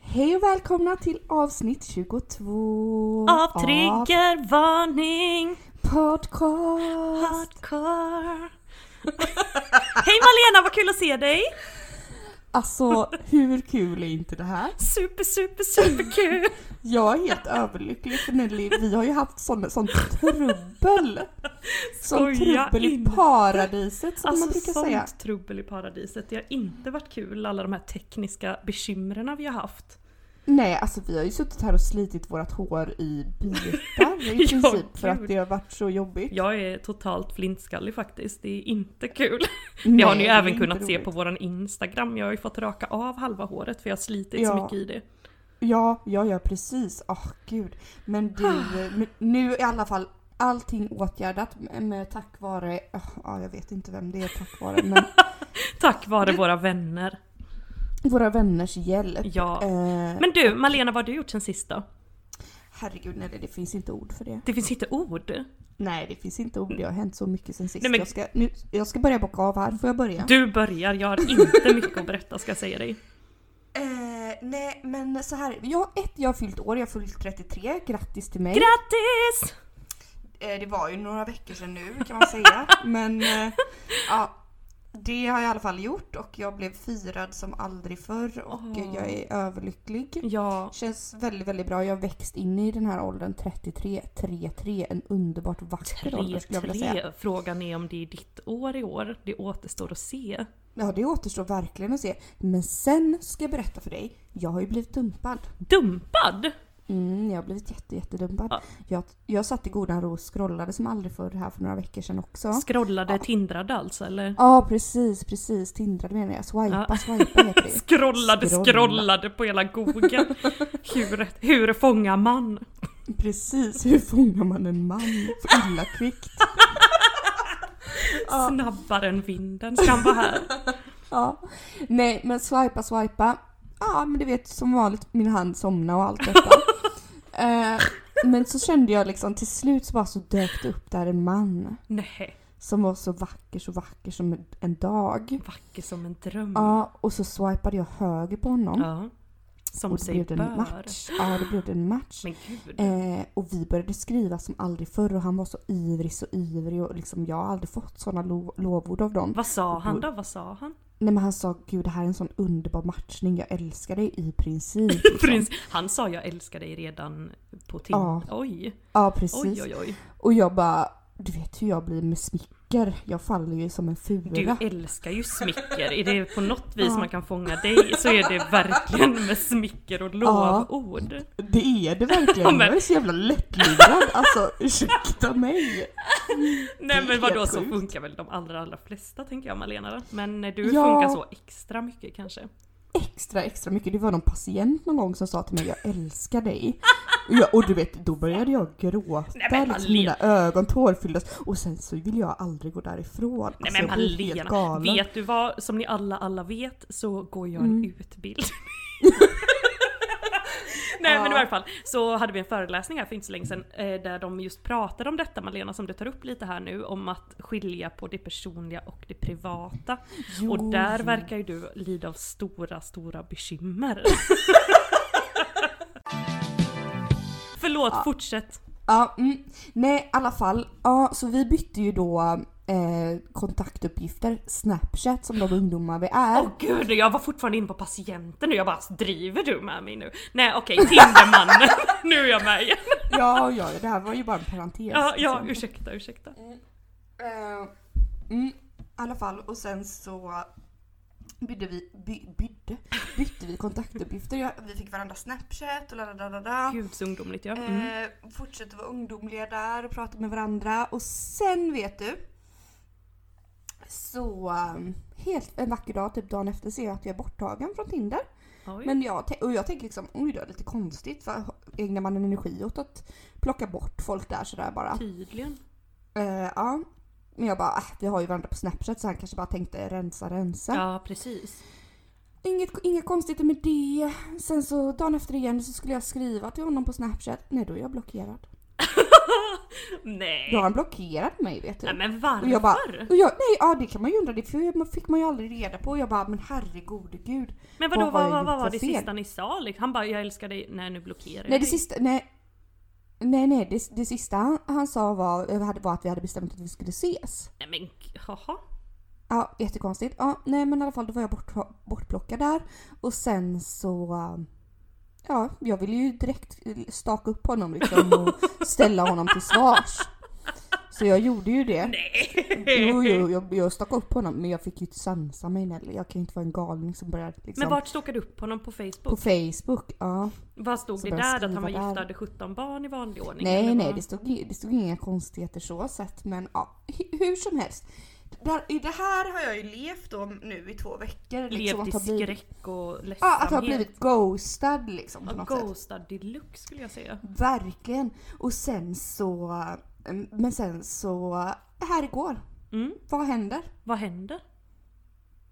Hej och välkomna till avsnitt 22 Av triggervarning podcast. hardcore Hej Malena, vad kul att se dig! Alltså hur kul är inte det här? Super, super, super kul! Jag är helt överlycklig för nu, vi har ju haft sån, sånt trubbel. Sånt Skoja trubbel i inte. paradiset som man Alltså brukar sånt säga. trubbel i paradiset. Det har inte varit kul alla de här tekniska bekymren vi har haft. Nej, alltså vi har ju suttit här och slitit vårt hår i bitar i Ja, princip för gud. att det har varit så jobbigt. Jag är totalt flintskallig faktiskt, det är inte kul. Nej, det har ni ju är även inte kunnat se roligt. på våran Instagram, jag har ju fått raka av halva håret för jag har slitit så Ja. mycket i det. Ja, ja, ja precis. Åh gud. Men du, men nu i alla fall allting åtgärdat med, med tack vare, åh, ja jag vet inte vem det är tack vare men Tack vare våra vänner. våra vänners hjälp. Ja. Eh, Men du, Malena, vad har du gjort sen sist då? Herregud, nej det finns inte ord för det. Det finns inte ord. Nej det finns inte ord, det har hänt så mycket sen sist. Nej, men- jag, ska, nu, jag ska börja bocka av här, får jag börja? Du börjar, jag har inte mycket att berätta ska jag säga dig. Eh, nej men så här, jag, ett, jag har fyllt år, jag har fyllt 33, grattis till mig. Grattis! eh, det var ju några veckor sedan nu kan man säga. men eh, ja, det har jag i alla fall gjort och jag blev firad som aldrig förr och Åh. jag är överlycklig. Ja, Känns väldigt, väldigt bra. Jag har växt in i den här åldern 33, 33, en underbart vacker ålder skulle jag vilja säga. 3-3. Frågan är om det är ditt år i år. Det återstår att se. Ja, det återstår verkligen att se. Men sen ska jag berätta för dig, jag har ju blivit dumpad. Dumpad! Mm, jag har blivit jätte, jättedumpad. Ja. Jag, jag satt i godan ro och scrollade som aldrig förr här för några veckor sedan också. Scrollade, tindrade alltså eller? Ja, precis, precis. Tindrade menar jag. Swipa, Ja. swipa heter det. Scrollade, Scrolla. scrollade på hela Google. Hur, hur fångar man? Precis, hur fångar man en man för illa kvickt? Ja. Snabbare än vinden ska han vara här. Ja. Nej, men swipa, swipa. Ja, men du vet som vanligt min hand somna och allt detta. eh, men så kände jag liksom till slut så bara så dök det upp där en man. Nej, Som var så vacker, så vacker som en dag. vacker som en dröm. Ja, och så swipade jag höger på honom. Ja. Som och sig det en bör. match. Ja, det blev en match. Men gud. Eh, och vi började skriva som aldrig förr och han var så ivrig, så ivrig och liksom jag har aldrig fått sådana lo- lovord av dem. Vad sa han då? Vad sa han? Nej men han sa gud det här är en sån underbar matchning, jag älskar dig i princip. liksom. Prins, han sa jag älskar dig redan på Tinder. Ja. Oj, Ja precis. oj, oj, oj. Och jag bara, du vet hur jag blir med smicker, jag faller ju som en Du fura. älskar ju smicker. Är det på något vis man kan fånga dig så är det verkligen med smicker och lovord. Det är det verkligen, Ja, men- jag är så jävla lättlurad. Alltså ursäkta mig. Nej det men är vadå helt så sjukt. funkar väl de allra allra flesta tänker jag Malena då. Men eh, du Ja. funkar så extra mycket kanske. extra, extra mycket. Det var någon patient någon gång som sa till mig jag älskar dig. Och, jag, och du vet, då började jag gråta. Nej, men liksom, Malena. mina ögon tårfylldes. Och sen så vill jag aldrig gå därifrån. Nej Alltså, men jag blir helt Malena, galen. vet du vad? Som ni alla alla vet så går jag en Mm. utbildning. Nej men i Ja. varje fall så hade vi en föreläsning här för inte så länge sedan eh, där de just pratade om detta Malena som du tar upp lite här nu om att skilja på det personliga och det privata. Jo. Och där verkar ju du lida av stora, stora bekymmer. Förlåt, fortsätt. Ja, mm, nej i alla fall. Ja, så vi bytte ju då eh, kontaktuppgifter, Snapchat som de ungdomar vi är. Åh gud, jag var fortfarande inne på patienten nu. Jag bara, driver du med mig nu? Nej okej, Tindermannen. nu är jag med igen. Ja, ja, det här var ju bara en parentes. Ja, ja, liksom. ursäkta, ursäkta. Eh, mm, I alla fall och sen så bytte vi, by, bytte, bytte vi kontaktuppgifter. Jag, vi fick varandra snapchat och ladadadada. Gud så ungdomligt ja. Mm. Eh, fortsatte vara ungdomliga där och prata med varandra och sen vet du Så um, helt en vacker dag, typ dagen efter, ser jag att jag är borttagen från Tinder. Oj. Men jag, tän- och jag tänker liksom, oj då, lite konstigt. För ägnar man en energi åt att plocka bort folk där sådär bara? Tydligen. Eh, ja. Men jag bara, äh, vi har ju varandra på Snapchat så han kanske bara tänkte rensa, rensa. Ja, precis. Inget, inga konstigheter med det. Sen så dagen efter igen så skulle jag skriva till honom på Snapchat. Nej, då är jag blockerad. Nej. Då har han blockerat mig vet du. Nej men Och varför? jag bara, och jag, nej ja det kan man ju undra, det fick- fick man ju aldrig reda på. Jag bara, men herregud gud. men vadå, vad vad, har vad, jag vad, gjort för var det fel? sista ni sa? Liksom? Han bara jag älskar dig, nej nu blockerar jag Nej det dig. sista, nej. Nej nej, det, det sista han, han sa var, eh, hade- var att vi hade bestämt att vi skulle ses. Nej men g- jaha. Ja, jättekonstigt. Ja, nej men i alla fall då var jag bort, bortplockad där. Och sen så... eh, Ja, jag ville ju direkt eh, staka upp honom liksom och ställa honom till svars. Så jag gjorde ju det. Nej. Jo, jo, jag, jag stakade upp honom men jag fick ju inte sansa mig Nelly. Jag kan ju inte vara en galning som börjar liksom... Men vart stalkade du upp honom på Facebook? På Facebook, ja. Vad stod Så det började där? Att skriva han var gift där. och hade 17 barn i vanlig ordning? Nej, eller nej, vad? det stod, ju- det stod inga konstigheter så sett men ja, hu- hur som helst. Där, I det här har jag ju levt om nu i två veckor. Levt liksom, att i ha blivit- skräck och ledsamhet. Ja, att ha blivit ghostad liksom på Ja, något sätt. Ghostad deluxe skulle jag säga. Verkligen. Och sen så, eh, men sen så, här igår, Mm. vad händer? Vad händer?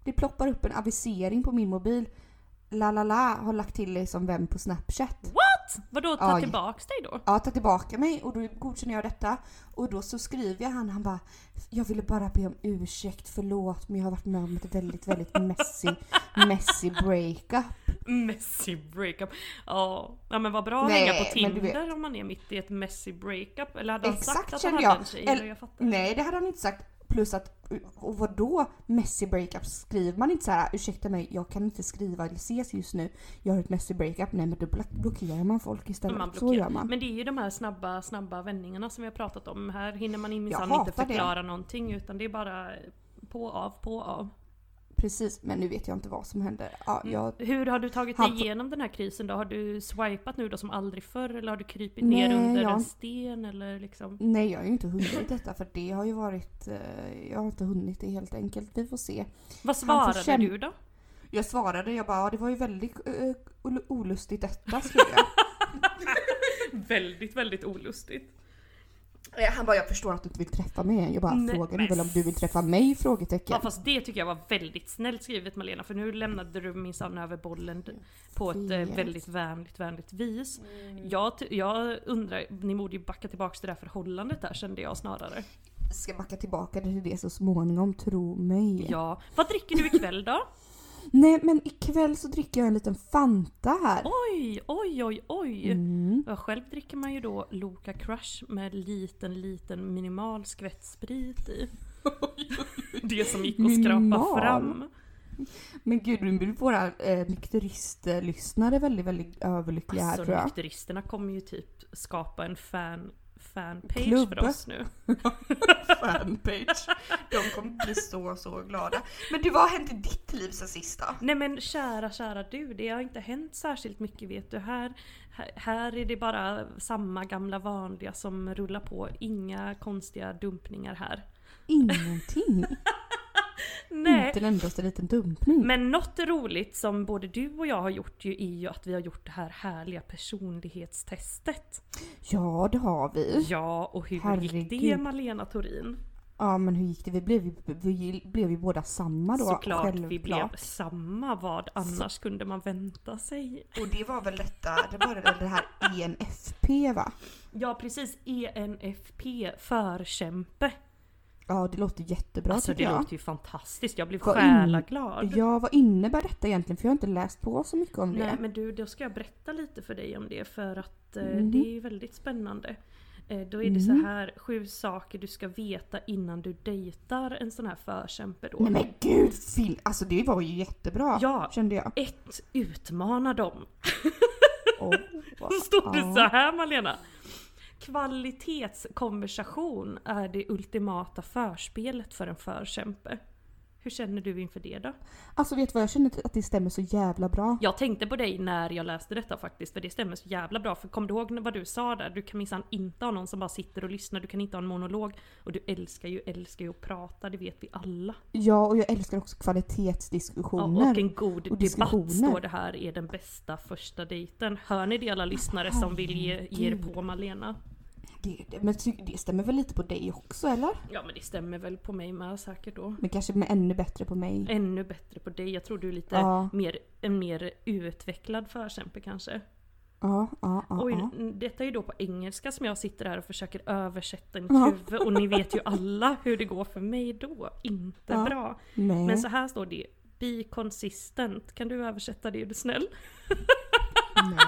Det ploppar upp en avisering på min mobil. La la la har lagt till dig som vän på Snapchat. Vadå ta Aj. tillbaks dig då? Ja, ta tillbaka mig och då godkänner jag detta. Och då så skriver jag han, han bara Jag ville bara be om ursäkt, förlåt men jag har varit med om ett väldigt, väldigt messy, messy breakup. Messy breakup. Ja, ja men vad bra att Nej, hänga på men du Tinder om man är mitt i ett messy breakup. Eller hade han Exakt, sagt att han kände hade jag. en tjej? Eller- Eller... Jag fattar. Nej, det hade han inte sagt. Plus att, eh, och vadå messy breakup? Skriver man inte så här ursäkta mig, jag kan inte skriva eller ses just nu. Jag har ett messy breakup. Nej men då block- blockerar man folk istället. Man så blockerar. gör man. Men det är ju de här snabba, snabba vändningarna som vi har pratat om. Här hinner man in minsann Jag inte hatar det. förklara någonting utan det är bara på, av, på, av. Mm. Precis, men nu vet jag inte vad som hände. Ja, jag Hur har du tagit Han- dig igenom den här krisen då? Har du swipat nu då som aldrig förr eller har du krypit ner Nej, under jag- en sten eller liksom? Nej, jag har ju inte hunnit detta för det har ju varit... eh, Jag har inte hunnit det helt enkelt. Vi får se. Vad Han får svarade kämpa. du då? Jag svarade, jag bara "Ja, det var ju väldigt eh, ol- olustigt detta skrev jag. Väldigt, väldigt olustigt. Eh, Han bara jag förstår att du inte vill träffa mig än. Jag bara Nej, frågan är men väl om du vill träffa mig? Frågetecken. Ja fast det tycker jag var väldigt snällt skrivet Malena för nu lämnade du minsann över bollen d- på ett eh, vet. väldigt vänligt, vänligt vis. Mm. Jag, ty- jag undrar, ni borde ju backa tillbaka till det här förhållandet där kände jag snarare. Ska backa tillbaka till det så småningom, tro mig. Ja. Vad dricker du ikväll då? Nej men ikväll så dricker jag en liten Fanta här. Oj, oj, oj, oj! Mm. Ja, Själv dricker man ju då Loka Crush med liten, liten minimal skvätt sprit i. Det som gick att Minimal. skrapa fram. Men gud nu blir våra eh, nykteristlyssnare väldigt väldigt överlyckliga här Alltså tror jag. nykteristerna kommer ju typ skapa en fan, fanpage Klubb. för oss nu. fanpage. De kommer bli så, så glada. Men du, vad har hänt i ditt liv sen sist då? Nej men kära, kära du, det har inte hänt särskilt mycket vet du. Här, här- här är det bara samma gamla vanliga som rullar på. Inga konstiga dumpningar här. Ingenting. Nej, Inte en endaste liten dumpning. Men något roligt som både du och jag har gjort ju är ju att vi har gjort det här härliga personlighetstestet. Ja, det har vi. Ja, och hur gick det Mm. Herregud. Malena Torin? Ja, men hur gick det? Vi blev ju, vi blev ju båda samma då. Såklart vi blev självklart. samma, vad annars kunde man vänta sig? Och det var väl detta, det var väl det här E ENFP va? Ja precis, E ENFP, förkämpe. Ja, det låter jättebra alltså det tycker jag. låter ju fantastiskt, jag blev Vad in- själaglad. Ja, vad innebär detta egentligen? För jag har inte läst på så mycket om Nej det. men du, då ska jag berätta lite för dig om det för att eh, Mhm. det är ju väldigt spännande. Eh, då är det Mm. så här sju saker du ska veta innan du dejtar en sån här förkämpe då. Nej men gud Finn! Alltså det var ju jättebra Ja. kände jag. Ett, utmana dem. Oh, Då står det ja. så här Malena. Kvalitetskonversation är det ultimata förspelet för en förkämpe. Hur känner du inför det då? Alltså vet du vad, jag känner att det stämmer så jävla bra. Jag tänkte på dig när jag läste detta faktiskt, för det stämmer så jävla bra. För kom du ihåg vad du sa där? Du kan minsann inte ha någon som bara sitter och lyssnar, du kan inte ha en monolog. Och du älskar ju, älskar ju att prata, det vet vi alla. Ja, och jag älskar också Ja, kvalitetsdiskussioner. och en god och debatt diskussioner. står det här är den bästa första dejten. Hör ni det alla lyssnare som vill ge, ge er på Malena? det, det, men ty- det stämmer väl lite på dig också eller? Ja men det stämmer väl på mig med säkert då. Men kanske med ännu bättre på mig. Ännu bättre på dig, jag tror du är lite Ja. mer, en mer utvecklad förkämpe kanske. Ja, ja, ja. Oj, ja. n- detta är ju då på engelska som jag sitter här och försöker översätta i mitt Ja. huvud och ni vet ju alla hur det går för mig då. Inte Ja. bra. Nej. Men så här står det Be consistent. Kan du översätta det är du snäll?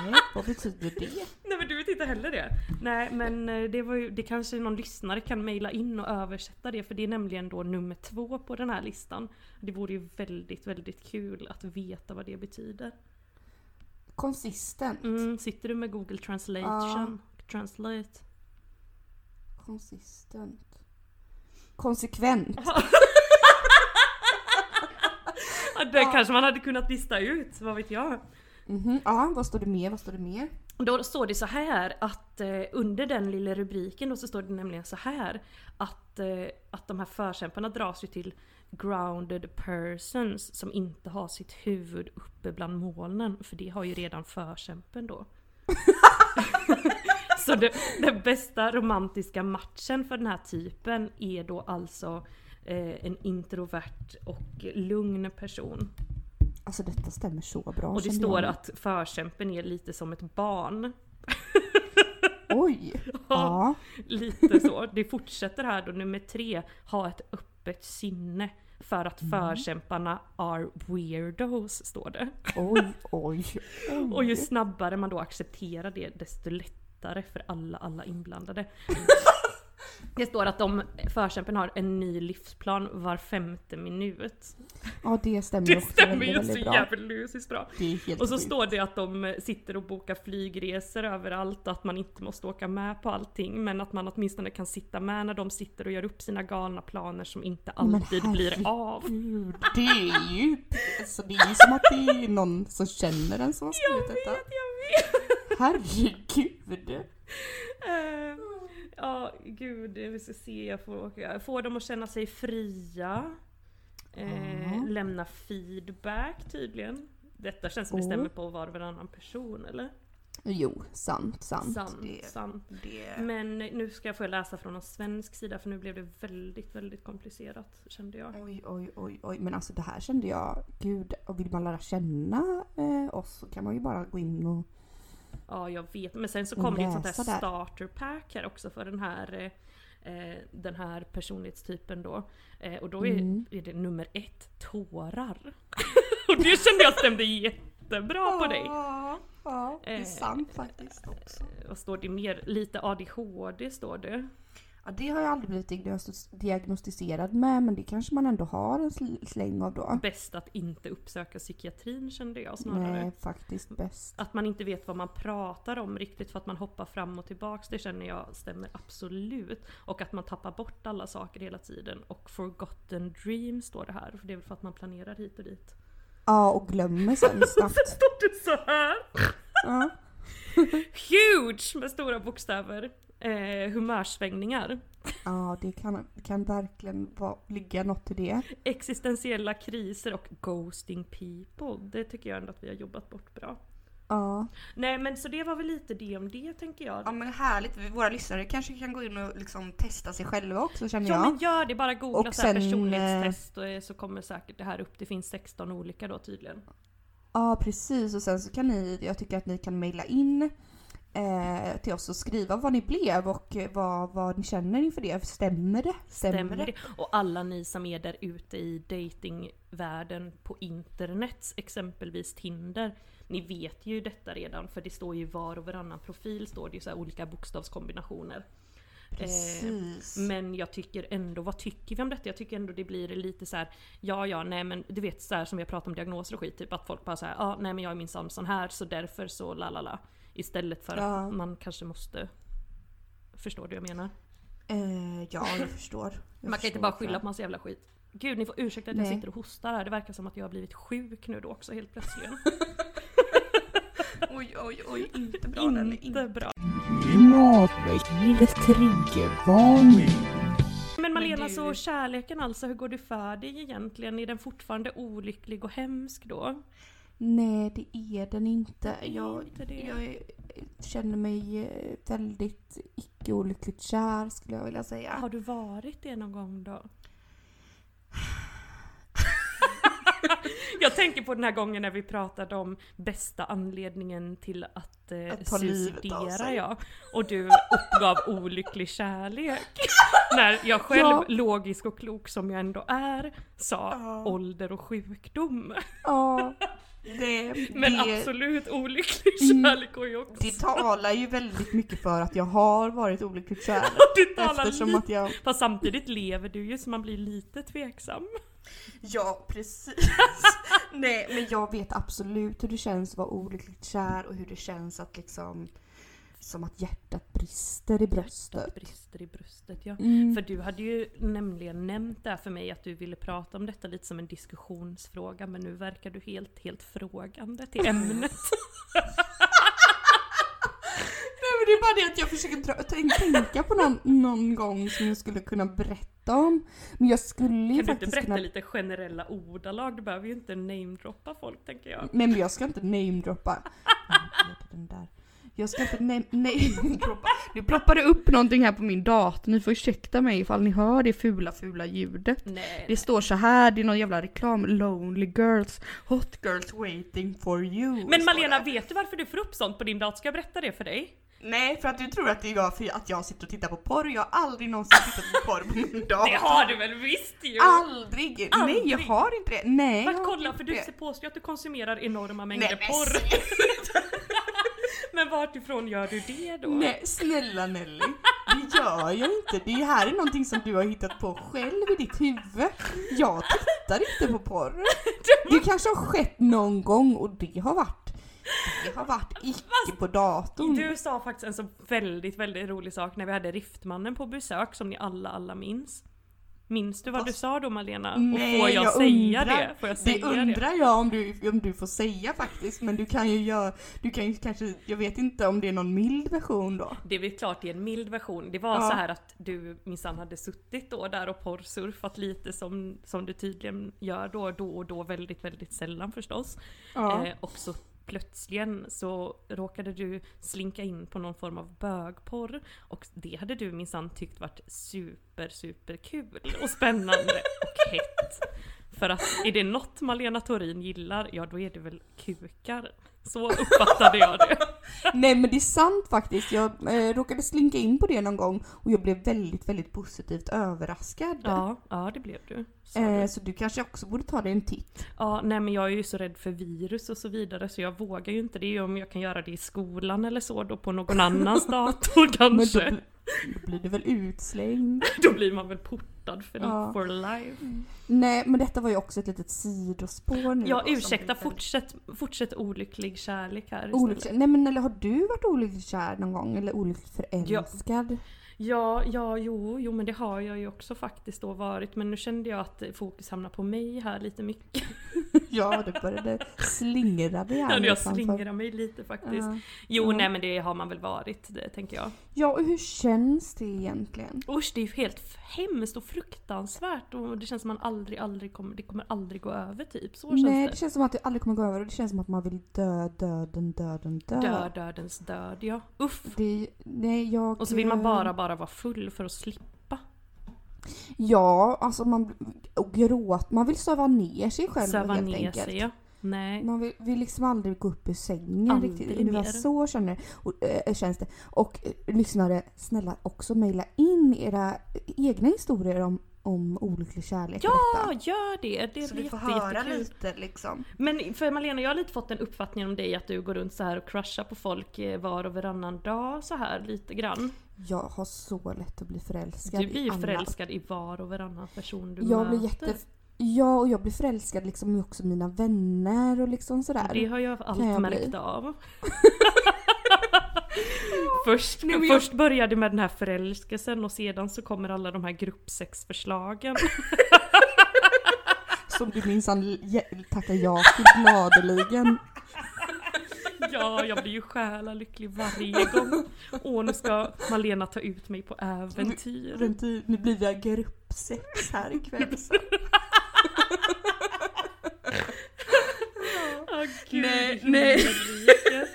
Nej, vad betyder det? Nej men du vet inte heller det. Nej men eh, det, var ju, det kanske någon lyssnare kan mejla in och översätta det för det är nämligen då nummer två på den här listan. Det vore ju väldigt, väldigt kul att veta vad det betyder. Konsistent. Mm, sitter du med Google Translation? Translate? Konsistent. Konsekvent. Ja, det kanske man hade kunnat lista ut, vad vet jag. Mhm. Ja, vad står det mer? Vad står det mer? Då står det så här att eh, under den lilla rubriken då så står det nämligen så här att, eh, att de här förkämparna dras ju till grounded persons som inte har sitt huvud uppe bland molnen för det har ju redan förkämpen då. så det, den bästa romantiska matchen för den här typen är då alltså eh, en introvert och lugn person. Alltså detta stämmer så bra. Och det känner står jag. att förkämpen är lite som ett barn. Oj! Ja. Lite så. Det fortsätter här då, nummer tre. Ha ett öppet sinne. För att förkämparna are weirdos, står det. Oj, oj, oj. Och ju snabbare man då accepterar det, desto lättare för alla, alla inblandade. Det står att de förkämpen har en ny livsplan var femte minut. Ja, det stämmer Det också stämmer väldigt, ju väldigt så bra. jävligt bra. Det är helt Och så sjukt. står det att de eh, sitter och bokar flygresor överallt och att man inte måste åka med på allting men att man åtminstone kan sitta med när de sitter och gör upp sina galna planer som inte Men alltid blir av. Gud, det är ju... Alltså, det är ju som att det är någon som känner en som har Jag skrivit vet, jag detta. vet! Herregud! Eh, Ja, gud, vi ska se, jag får åka. Få dem att känna sig fria. Eh, Ja. Lämna feedback tydligen. Detta känns som det Oh. stämmer på var och varannan person eller? Jo, sant, sant. Sant, Det- sant. det- Men nu ska jag få läsa från en svensk sida för nu blev det väldigt, väldigt komplicerat kände jag. Oj, oj, oj, oj. Men alltså det här kände jag, gud, och vill man lära känna eh, oss så kan man ju bara gå in och... Ja, jag vet. Men sen så kom det ett sånt Läsa här där. starterpack här också för den här eh, eh, den här personlighetstypen då. Eh, Och då är, Mm. är det nummer ett, tårar. och det kände jag stämde jättebra på dig. Ja, ja, det är Eh. sant faktiskt också. Eh, Vad står det mer? Lite ADHD står det. Ja, det har jag aldrig blivit diagnos- diagnostiserad med men det kanske man ändå har en sl- släng av då. Bäst att inte uppsöka psykiatrin kände jag snarare. Nej, faktiskt bäst. Att man inte vet vad man pratar om riktigt för att man hoppar fram och tillbaks, det känner jag stämmer absolut. Och att man tappar bort alla saker hela tiden. Och forgotten dream står det här, för det är väl för att man planerar hit och dit. Ja, och glömmer sen snabbt. Står det så här? Ja. Huge! Med stora bokstäver. Eh, humörsvängningar. Ja, det kan, kan verkligen vara, ligga något i det. Existentiella kriser och ghosting people. Det tycker jag ändå att vi har jobbat bort bra. Ja. Nej men så det var väl lite det om det tänker jag. Ja men härligt, våra lyssnare kanske kan gå in och liksom testa sig själva också känner Ja jag. men gör det, bara googla Och så här sen, eh, personlighetstest och, eh, så kommer säkert det här upp. Det finns 16 olika då tydligen. Ja precis och sen så kan ni, jag tycker att ni kan mejla in eh, till oss och skriva vad ni blev och eh, vad, vad ni känner inför det. Stämmer det? Stämmer det? Och alla ni som är där ute i datingvärlden på internet, exempelvis Tinder. Ni vet ju detta redan för det står ju var och varannan profil står det ju så här olika bokstavskombinationer. Eh, Precis. Men jag tycker ändå, vad tycker vi om detta? Jag tycker ändå det blir lite så här, ja ja nej men du vet så här som jag pratar om diagnoser och skit, typ att folk bara säger ja nej men jag är min sån här så därför så la la la. Istället för Ja. att man kanske måste Förstår du vad jag menar? Eh, ja jag förstår. Jag Man kan inte förstår, bara tror jag. skylla på massa jävla skit. Gud ni får ursäkta att jag Nej. sitter och hostar här, det verkar som att jag har blivit sjuk nu då också helt plötsligt. Oj, oj, oj. Inte bra den. är inte Inte. bra. Klimatväxlingens triggervarning. Men Men Malena, du- så kärleken alltså, hur går det för dig egentligen? Är den fortfarande olycklig och hemsk då? Nej, det är den inte. Jag, Inte det. jag är- känner mig eh, väldigt icke olyckligt kär skulle jag vilja säga. Har du varit det någon gång då? Jag tänker på den här gången när vi pratade om bästa anledningen till att, eh, Att ta livet av suicidera sig. jag. Och du uppgav olycklig kärlek. när jag själv, Ja. logisk och klok som jag ändå är, sa Ja. ålder och sjukdom. Ja, det, Men det, absolut olycklig Mm. kärlek har jag också. det talar ju väldigt mycket för att jag har varit olyckligt kär. Du talar Eftersom lite- att jag... Fast samtidigt lever du ju så man blir lite tveksam. Ja, precis. Nej, men jag vet absolut hur det känns att vara olyckligt kär och hur det känns att liksom... Som att hjärtat brister i bröstet. Brister i bröstet ja. Mm. För du hade ju nämligen nämnt det här för mig att du ville prata om detta lite som en diskussionsfråga men nu verkar du helt, helt frågande till Mm. ämnet. Nej men det är bara det att jag försöker dra, tänk, tänka på någon, någon gång som jag skulle kunna berätta om. Men jag skulle ju kan du inte faktiskt berätta kunna... lite generella ordalag? Du behöver ju inte namedroppa folk tänker jag. Nej men jag ska inte namedroppa. Jag vet den där. Jag ska inte nam- namedroppa. Nu ploppar det upp någonting här på min dator. Ni får ursäkta mig ifall ni hör det fula fula ljudet. Nej. Det står så här, det är någon jävla reklam. Lonely girls, hot girls waiting for you. Men står Malena, det. vet du varför du får upp sånt på din dator? Ska jag berätta det för dig? Nej för att du tror att det är jag, för att jag sitter och tittar på porr. Jag har aldrig någonsin tittat på porr på min dator. Det har du väl visst ju! Aldrig. Aldrig. Nej jag har inte det. Nej. jag Att har kolla, inte för du det. påstår ju att du konsumerar enorma mängder Nej, men porr. Men vartifrån gör du det då? Nej snälla Nelly. Det gör jag inte. Det här är någonting som du har hittat på själv i ditt huvud. Jag tittar inte på porr. Det kanske har skett någon gång och det har varit det har varit icke på datorn. Du sa faktiskt en så väldigt, väldigt rolig sak när vi hade Riftmannen på besök som ni alla, alla minns. Minns du vad du Fast- sa då Malena? Nej, och får jag, jag säga undrar. det? Får jag Det säga det? undrar jag om du, om du får säga faktiskt, men du kan ju göra, du kan ju kanske, jag vet inte om det är någon mild version då. Det är väl klart i en mild version. Det var Ja. så här att du minsann hade suttit då där och porrsurfat lite som, som du tydligen gör då, då och då väldigt, väldigt sällan förstås. Ja. Eh, och så plötsligen så råkade du slinka in på någon form av bögporr och det hade du minsann tyckt varit super, super kul och spännande och hett. För att är det något Malena Torin gillar, ja då är det väl kukar. Så uppfattade jag det. Nej men det är sant faktiskt. Jag eh, råkade slinka in på det någon gång och jag blev väldigt, väldigt positivt överraskad. Ja, ja det blev du. sa eh, du. så du kanske också borde ta dig en titt. Ja, nej men jag är ju så rädd för virus och så vidare så jag vågar ju inte det. Det är ju om jag kan göra det i skolan eller så då på någon annans dator Men då, kanske. bli- då blir du väl utslängd. Då blir man väl portad för Ja. for life. Nej men detta var ju också ett litet sidospår nu. då, Ja som ursäkta, blir väldigt- fortsätt, fortsätt olycklig kärlek här istället. Olycklig, nej men eller har du varit olyckligt kär någon gång? Eller olyckligt förälskad? Ja, ja, jo, jo men det har jag ju också faktiskt då varit men nu kände jag att fokus hamnar på mig här lite mycket. Ja, det började slingra dig här Ja, nu jag framför- slingrar mig lite faktiskt. Ja. Jo ja. nej men det har man väl varit, det tänker jag. Ja och hur känns det egentligen? Usch det är ju helt f- hemskt och fruktansvärt och det känns som man aldrig, aldrig kommer, det kommer aldrig gå över typ. Så känns Nej det. det känns som att det aldrig kommer gå över och det känns som att man vill dö döden döden död. Död, dödens död ja. Uff. Det, nej, jag, Och så vill man bara, bara vara full för att slippa. Ja, alltså man och gråt. Man vill söva ner sig själv Söva helt ner enkelt. sig ja. Nej. Man vill, vill liksom aldrig gå upp ur sängen Aldrig riktigt. Ungefär mer. så känner, och, äh, känns det. Och äh, lyssnare, snälla också mejla in era egna historier om, om olycklig kärlek. och Ja, detta. gör det! Det blir jätte, jättekul. lite liksom. Men för Malena, jag har lite fått en uppfattning om dig att du går runt så här och crushar på folk eh, var och varannan dag så här lite grann. Jag har så lätt att bli förälskad Du blir i ju alla. förälskad i var och varannan person du Jag möter. blir jätte... Ja, och jag blir förälskad liksom i också mina vänner och liksom sådär. Det har jag allt Kan jag märkt bli. av. först, Nej, men jag- först började med den här förälskelsen och sedan så kommer alla de här gruppsexförslagen. som du minsann je- tackar ja till gladeligen. Ja, jag blir ju själa lycklig varje gång. Åh, nu ska Malena ta ut mig på äventyr. Ventil- Nu blir det gruppsex här ikväll. Så. Åh, gud, Nej, vilken nej. rubriker.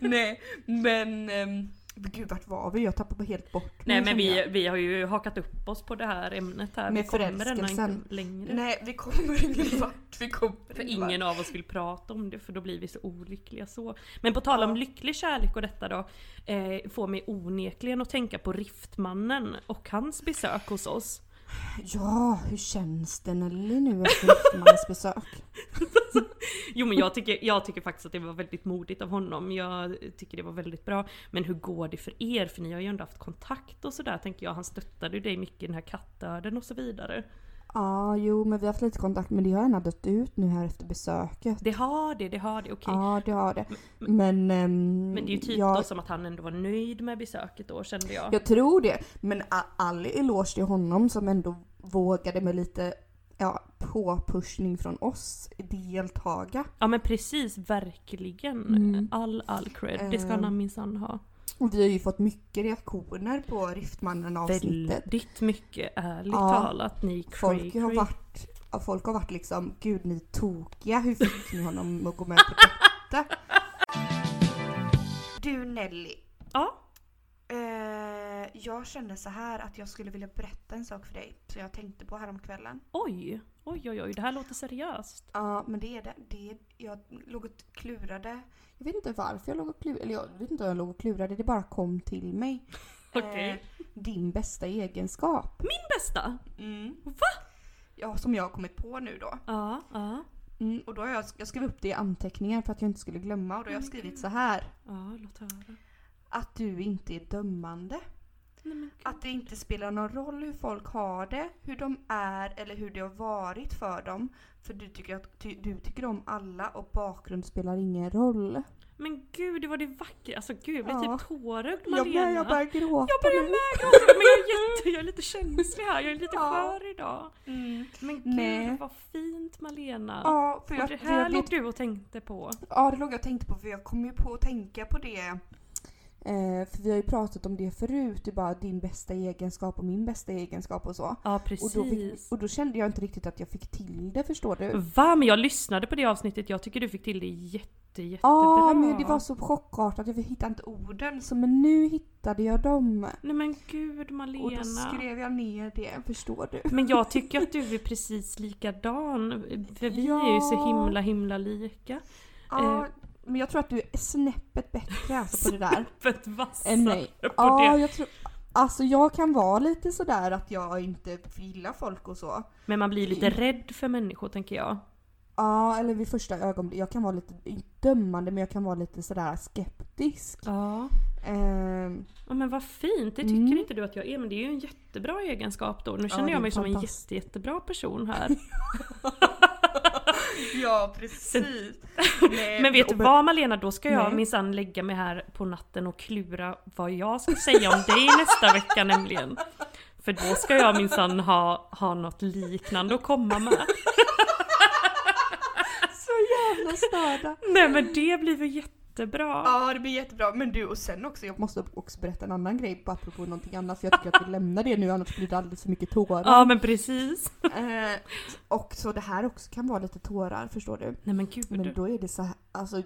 Nej, men... ehm, gud vart var vi? Jag tappade helt bort Nej mig, men känner vi, jag. vi har ju hakat upp oss på det här ämnet här. Med vi kommer ändå förälskelsen. inte längre. Nej vi kommer ingen vart. Vi kommer För ingen vart. ingen av oss vill prata om det för då blir vi så olyckliga så. Men på tal om lycklig kärlek och detta då. Eh, får mig onekligen att tänka på Riftmannen och hans besök hos oss. Ja, hur känns det Nelly nu efter mans besök? Jo men jag tycker, jag tycker faktiskt att det var väldigt modigt av honom. Jag tycker det var väldigt bra. Men hur går det för er? För ni har ju ändå haft kontakt och sådär tänker jag. Han stöttade ju dig mycket i den här kattdöden och så vidare. Ja, jo men vi har haft lite kontakt men det har gärna dött ut nu här efter besöket. Det har det, det har det, okej. Ja, det har det. Men... ehm, Men det är ju typ då jag, som att han ändå var nöjd med besöket då kände jag. jag tror det. Men a- all eloge till honom som ändå vågade med lite ja, påpushning från oss deltaga. Ja men precis, verkligen. Mm. All, all cred. Det ska Ehm, han minsann ha. Och vi har ju fått mycket reaktioner på Riftmannen avsnittet. Väldigt mycket ärligt Ja. talat. Ni cray, Folk har cray. varit, ja, folk har varit liksom, gud ni är tokiga, hur fick ni honom att gå med på detta? Du Nelly, Ja, Eh, jag kände så här att jag skulle vilja berätta en sak för dig som jag tänkte på häromkvällen. oj. Oj oj oj, det här låter seriöst. Ja, men det är det. det är, jag låg och klurade. jag vet inte varför jag låg och klurade, eller jag vet inte om jag låg och klurade, det bara kom till mig. Eh, Okej. Din bästa egenskap. Bästa? Va? Ja, som jag har kommit på nu då. Ja, ja. Mm, Och då har jag, jag jag skrev skrev upp det i anteckningar för att jag inte skulle glömma och då har jag skrivit så här. Ja, låt höra. Att du inte är dömande. Nej, men gud. att det inte spelar någon roll hur folk har det, hur de är eller hur det har varit för dem. För du tycker, att, ty, du tycker om alla och bakgrund spelar ingen roll. Men gud, det var det vackra. Alltså gud, jag blir Ja. typ tårögd Jag, Malena. börjar- jag börjar gråta Jag börjar nu. med gråta, men jag är, jätte, jag är lite känslig här. Jag är lite Ja. skör idag. Mm. Men gud Nej. vad fint Malena. Ja, för Och jag, det jag här blev låg du och tänkte på. Ja, det låg jag och tänkte på för jag kom ju på att tänka på det. Eh, för vi har ju pratat om det förut, det är bara din bästa egenskap och min bästa egenskap och så. Ja Och precis. då, fick, och då kände jag inte riktigt att jag fick till det förstår du. Va? Men jag lyssnade på det avsnittet. Jag tycker du fick till det jätte, jättebra. Ja men det var så chockartat, jag hittade inte orden. Så men nu hittade jag dem. Nej men gud Och då Malena. skrev jag ner det, förstår du. Men jag tycker att du är precis likadan. För vi Ja. är ju så himla himla lika. Ja, Eh. men jag tror att du är snäppet bättre alltså på det där. Fett vassare än mig. på Ja, det. jag tror... Alltså jag kan vara lite sådär att jag inte gillar folk och så. Men man blir lite rädd för människor tänker jag. Ja, eller vid första ögonblicket. Jag kan vara lite inte dömande men jag kan vara lite sådär skeptisk. Ja. Ehm, Ja men vad fint, det tycker Mm. inte du att jag är men det är ju en jättebra egenskap då. Nu det känner är jag mig som en fantastiskt. jätte, jättebra person här. Ja, precis. Nej, Men vet du och be- vad Malena, då ska jag Eh, Nej. minsann lägga mig här på natten och klura vad jag ska säga om dig nästa vecka nämligen. För då ska jag minsann ha, ha något liknande att komma med. så jävla störda. Nej men det blir väl jättebra. Ja, det blir jättebra. Men du, och sen också, jag Jag måste också berätta en annan grej bara apropå någonting annat för jag tycker att vi lämnar det nu annars blir det alldeles för mycket tårar. Ja men precis. Ehm, och så det här också kan vara lite tårar förstår du. Nej men gud. Men då är det så här, alltså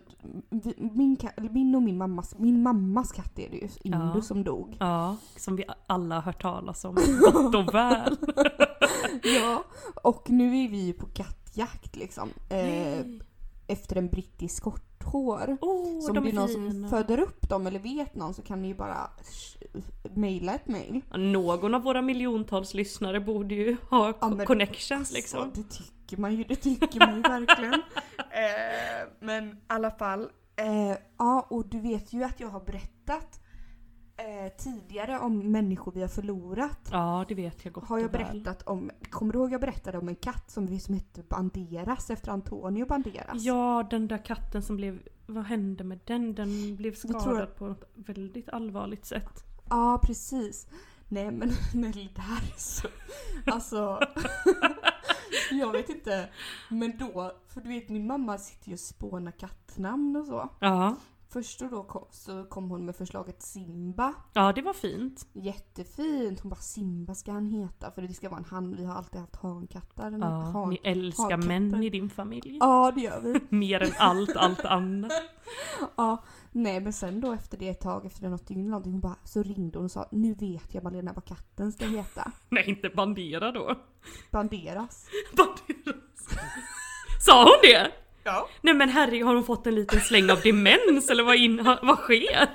vi- min, ka- eller min och min mammas, min mammas katt är det ju, Indu Ja. som dog. Ja, som vi alla har hört talas om gott och väl. Ja. Och nu är vi ju på kattjakt liksom. Eh, Nej. efter en brittisk korthår. Åh, Så om de det är är någon fina. som föder upp dem eller vet någon så kan ni ju bara sh- mejla ett mejl. Ja, Någon av våra miljontals lyssnare borde ju ha Ja, men- connections liksom. Så Alltså, det tycker man ju, det tycker man ju verkligen. Eh, men i alla fall. Eh, ja, och du vet ju att jag har berättat eh, tidigare om människor vi har förlorat. Ja, det vet jag gott Har jag och väl. berättat om, kommer du ihåg jag berättade om en katt som, vi- som hette Banderas efter Antonio Banderas? Ja, den där katten som blev... Vad hände med den? Den blev tror skadad att- på något väldigt allvarligt sätt. Ja, precis. Nej men Nelly, det här är så... Alltså... Jag vet inte. Men då, för du vet min mamma sitter ju och spånar kattnamn och så. Ja. Först och då kom, så kom hon med förslaget Simba. ja, det var fint. Jättefint. Hon bara Simba ska han heta för det ska vara en han. Vi har alltid haft hankatter. eller Ja, han. ni älskar hankatter. män i din familj. ja det gör vi. Mer än allt, allt annat. Ja, nej men sen då efter det ett tag, efter något dygn eller någonting, hon bara, så ringde hon och sa nu vet jag Malena vad katten ska heta. Nej, inte Bandera då. Banderas. Bandera. Sa hon det? Ja. Nej men herregud, har hon fått en liten släng av demens eller vad, in, ha- vad sker?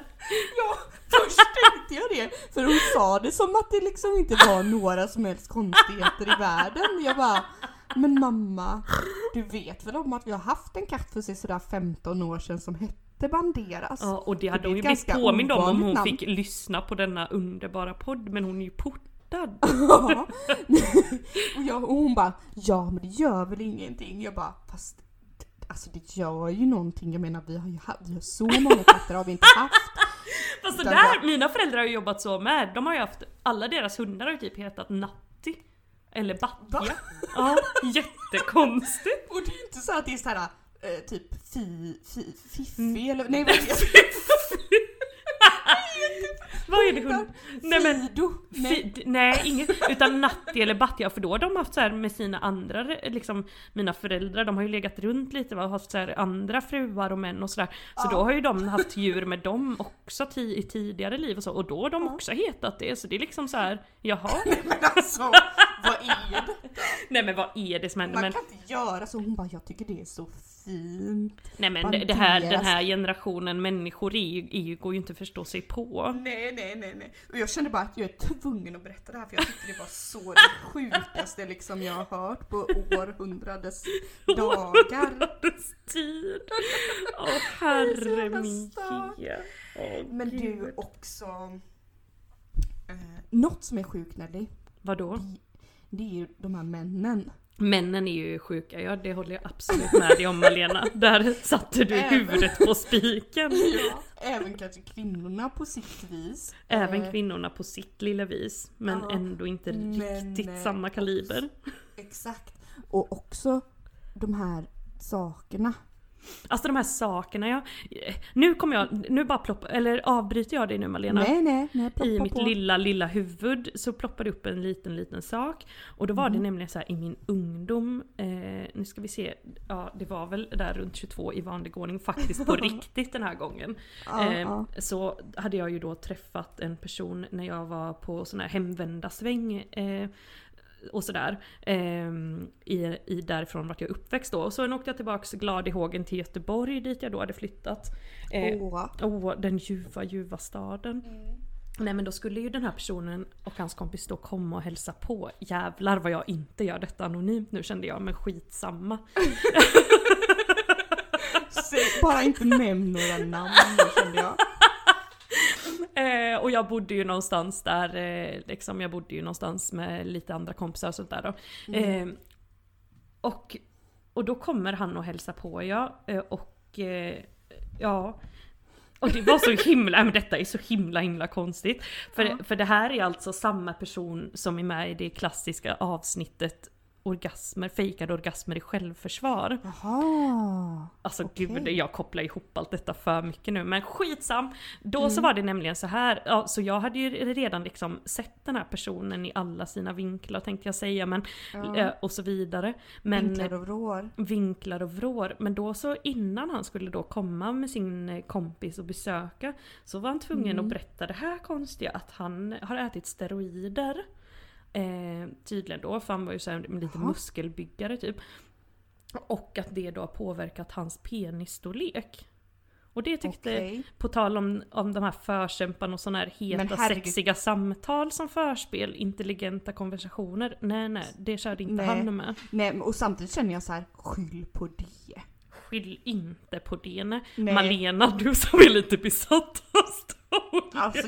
Ja, först tänkte jag det. För hon sa det som att det liksom inte var några som helst konstigheter i världen. Jag bara, men mamma, du vet väl om att vi har haft en katt för sig sådär 15 år sedan som hette Banderas? Ja, och det hade Det är hon ju ett blivit ganska påmind om om ovanligt hon namn. fick lyssna på denna underbara podd, men hon är ju portad. Ja. och, jag, och hon bara, ja men det gör väl ingenting. Jag bara, fast alltså det gör ju någonting. Jag menar vi har ju haft, vi har så många katter har vi inte haft. Fast så Utan där, mina föräldrar har ju jobbat så med. De har ju haft, alla deras hundar har ju typ hetat Natti. Eller Va? Batja. Ja, jättekonstigt. Och det är ju inte så att det är såhär eh, typ fi, fi, fiffi eller nej vad är det? Vad är det hund? Nej men Fido? Nej. Fi- d- nej, inget. Utan Natti eller Batja, för då har de haft så här med sina andra, liksom mina föräldrar, de har ju legat runt lite va, och haft så här andra fruar och män och sådär. Så då har ju de haft djur med dem också ti- i tidigare liv och så, och då har de också hetat det. Så det är liksom så här, jaha, nej men alltså vad är det? nej men vad är det som händer? Man Men, kan inte göra så. Hon bara, jag tycker det är så fint. nej men det- det här, den här generationen människor är ju, är ju, går ju inte att förstå sig på. Nej, nej, nej, nej. Och jag kände bara att jag är tvungen att berätta det här för jag tyckte det var så det sjukaste liksom jag har hört på århundradets dagar. Århundradets tid! Åh är så herre jävla min stark. ge. Åh, Men du Gud. också. Eh, något som är sjukt Nelly, Vadå? det är ju de här männen. Männen är ju sjuka, ja det håller jag absolut med dig om Malena. Där satte du huvudet på spiken. Även kanske kvinnorna på sitt vis. Även Eh, kvinnorna på sitt lilla vis, men Ja. ändå inte Men, riktigt eh, samma kaliber. Exakt. Och också de här sakerna. Alltså de här sakerna, jag, nu kommer jag, nu bara plopp, eller avbryter jag dig nu Malena? Nej, nej, nej. ploppa I mitt på. lilla, lilla huvud så ploppade upp en liten, liten sak. Och då var Mhm. det nämligen så här i min ungdom, eh, nu ska vi se, ja det var väl där runt 22 i vanlig ordning faktiskt på riktigt den här gången. Ja, eh, ja. Så hade jag ju då träffat en person när jag var på sån här hemvända sväng. Eh, och sådär. Ehm, i, i därifrån vart jag uppväxt då. Och sen åkte jag tillbaks glad i hågen till Göteborg dit jag då hade flyttat. Eh, Åh. Åh, den ljuva, ljuva staden. Nej men då skulle ju den här personen och hans kompis då komma och hälsa på. Jävlar vad jag inte gör detta anonymt nu kände jag, men skitsamma. Alltså, Säg- Bara inte nämn några namn nu, kände jag. Eh, och jag bodde ju någonstans där, eh, liksom, jag bodde ju någonstans med lite andra kompisar och sånt där då. Eh, och, och då kommer han och hälsar på ja, eh, och eh, ja. Och det var så himla, nej, men detta är så himla himla konstigt. För, för det här är alltså samma person som är med i det klassiska avsnittet orgasmer, fejkade orgasmer i självförsvar. Jaha. Alltså Okej. gud, jag kopplar ihop allt detta för mycket nu. Men skitsam! Då Mm. så var det nämligen så här, ja, så jag hade ju redan liksom sett den här personen i alla sina vinklar tänkte jag säga, men eh, och så vidare. Men, Vinklar och vrår. vinklar och vrår. Men då så innan han skulle då komma med sin eh, kompis och besöka så var han tvungen Mm. att berätta det här konstiga att han har ätit steroider. Eh, tydligen då, för han var ju så här, lite muskelbyggare typ. Och att det då har påverkat hans penisstorlek. Och det tyckte, Okej. på tal om, om de här förkämparna och sådana här Men heta herregud. sexiga samtal som förspel, intelligenta konversationer. Nej nej, det körde inte Nej. han med. Nej, men- och samtidigt känner jag så här, skyll på det. Skyll inte på det. Nej. Nej. Malena, du som är lite besatt av stor. Alltså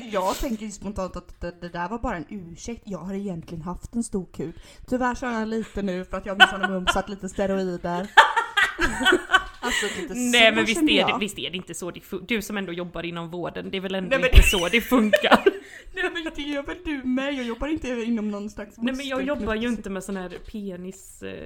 jag tänker ju spontant att det, det där var bara en ursäkt. Jag har egentligen haft en stor kuk. Tyvärr så har jag lite nu för att jag minsann har mumsat lite steroider. Alltså lite Nej så men visst känner är, det, jag. visst är det inte så det funkar? Du som ändå jobbar inom vården, det är väl ändå Nej, men- inte så det funkar? Nej men det gör väl du med? Jag jobbar inte inom någon slags Nej men jag muskelknuts- jobbar ju inte med sån här penisvård.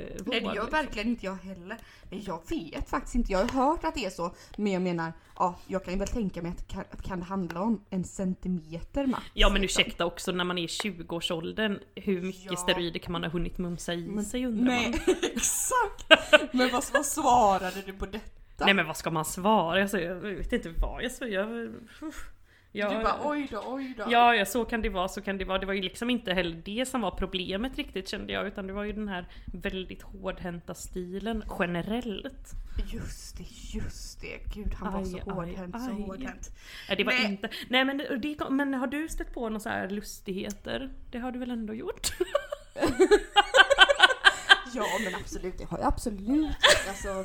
liksom. Nej det gör verkligen inte jag heller. Men jag vet faktiskt inte, jag har hört att det är så. Men jag menar, ja jag kan ju väl tänka mig att kan, kan det handla om en centimeter max? Ja men liksom? ursäkta också när man är i 20-årsåldern, hur mycket Ja. steroider kan man ha hunnit mumsa i Men- sig undrar man? Nej exakt! Men vad, vad svarade du på detta? Nej men vad ska man svara? Alltså, jag vet inte vad jag sa. Jag, uff. jag, Du bara oj då, oj då. Ja, ja, så kan det vara, så kan det vara. Det var ju liksom inte heller det som var problemet riktigt kände jag, utan det var ju den här väldigt hårdhänta stilen generellt. Just det, just det. Gud han var Aj, så aj, hårdhänt, så aj. hårdhänt. Nej, det var Nej. inte... Nej men, det, men har du stött på några så här lustigheter? Det har du väl ändå gjort? Mm. Ja men absolut, det har jag absolut. Alltså,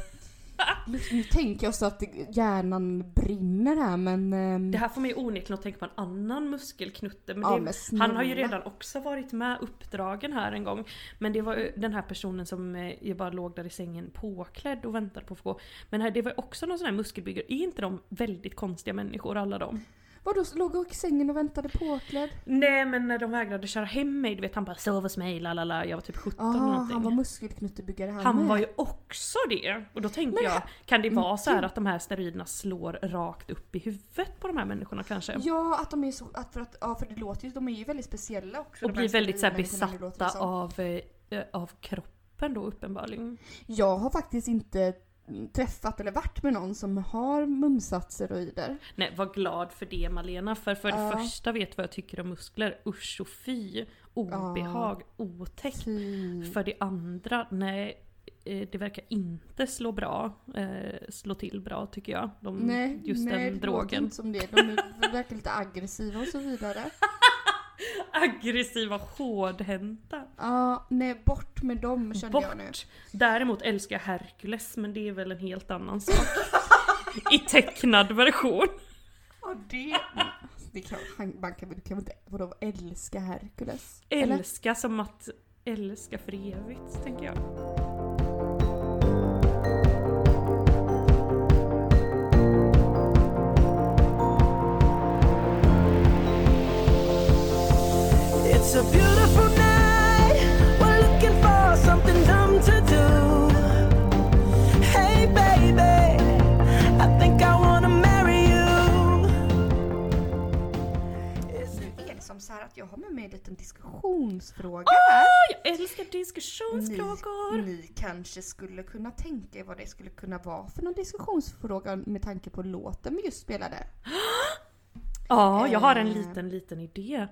nu- nu tänker jag så att hjärnan brinner här men... ehm, Det här får mig onekligen att tänka på en annan muskelknutte. Men Ja, det, men snälla. han har ju redan också varit med uppdragen här en gång. Men det var ju den här personen som eh, jag bara låg där i sängen påklädd och väntade på att få gå. Men här, det var ju också någon sån här muskelbyggare. Är inte de väldigt konstiga människor alla de? Vadå, låg och i sängen och väntade påklädd? Nej men när de vägrade köra hem mig, du vet han bara sov hos mig, la la la. Jag var typ 17 Ah, eller någonting. han var muskelknuttebyggare han, Han med. var ju också det. Och då tänkte jag, kan det vara så Mm. här att de här steroiderna slår rakt upp i huvudet på de här människorna kanske? Ja, att de är så, att för, att, ja, för det låter ju, de är ju väldigt speciella också. Och de blir här väldigt så här människorna, det låter besatta det av, som. eh, av kroppen då uppenbarligen. Jag har faktiskt inte träffat eller varit med någon som har mumsat steroider. Nej, var glad för det Malena, för för Ja. det första vet vad jag tycker om muskler. Usch och fy. Obehag, otäckt. Fy. För det andra, nej. eh, Det verkar inte slå bra, eh, slå till bra tycker jag. De, Nej, just nej, den det låter drogen. inte som det. De är, verkar lite aggressiva och så vidare. Aggressiva, hårdhänta. Ja, nej bort med dem kände jag nu. Bort! Däremot älskar jag Hercules men det är väl en helt annan sak. I tecknad version. Ja, det... det kan, han, man kan, du kan väl inte vadå, älska Herkules? Eller? Älska som att älska för evigt, tänker jag. It's a beautiful night. We're looking for something dumb to do. Hey, baby, I think I wanna marry you. Nu är det som så här att jag har med mig en liten diskussionsfråga här. Åh, jag älskar diskussionsfrågor! Ni, ni kanske skulle kunna tänka er vad det skulle kunna vara för någon diskussionsfråga med tanke på låten vi just spelade. Ja, jag har en Eh. liten, liten idé.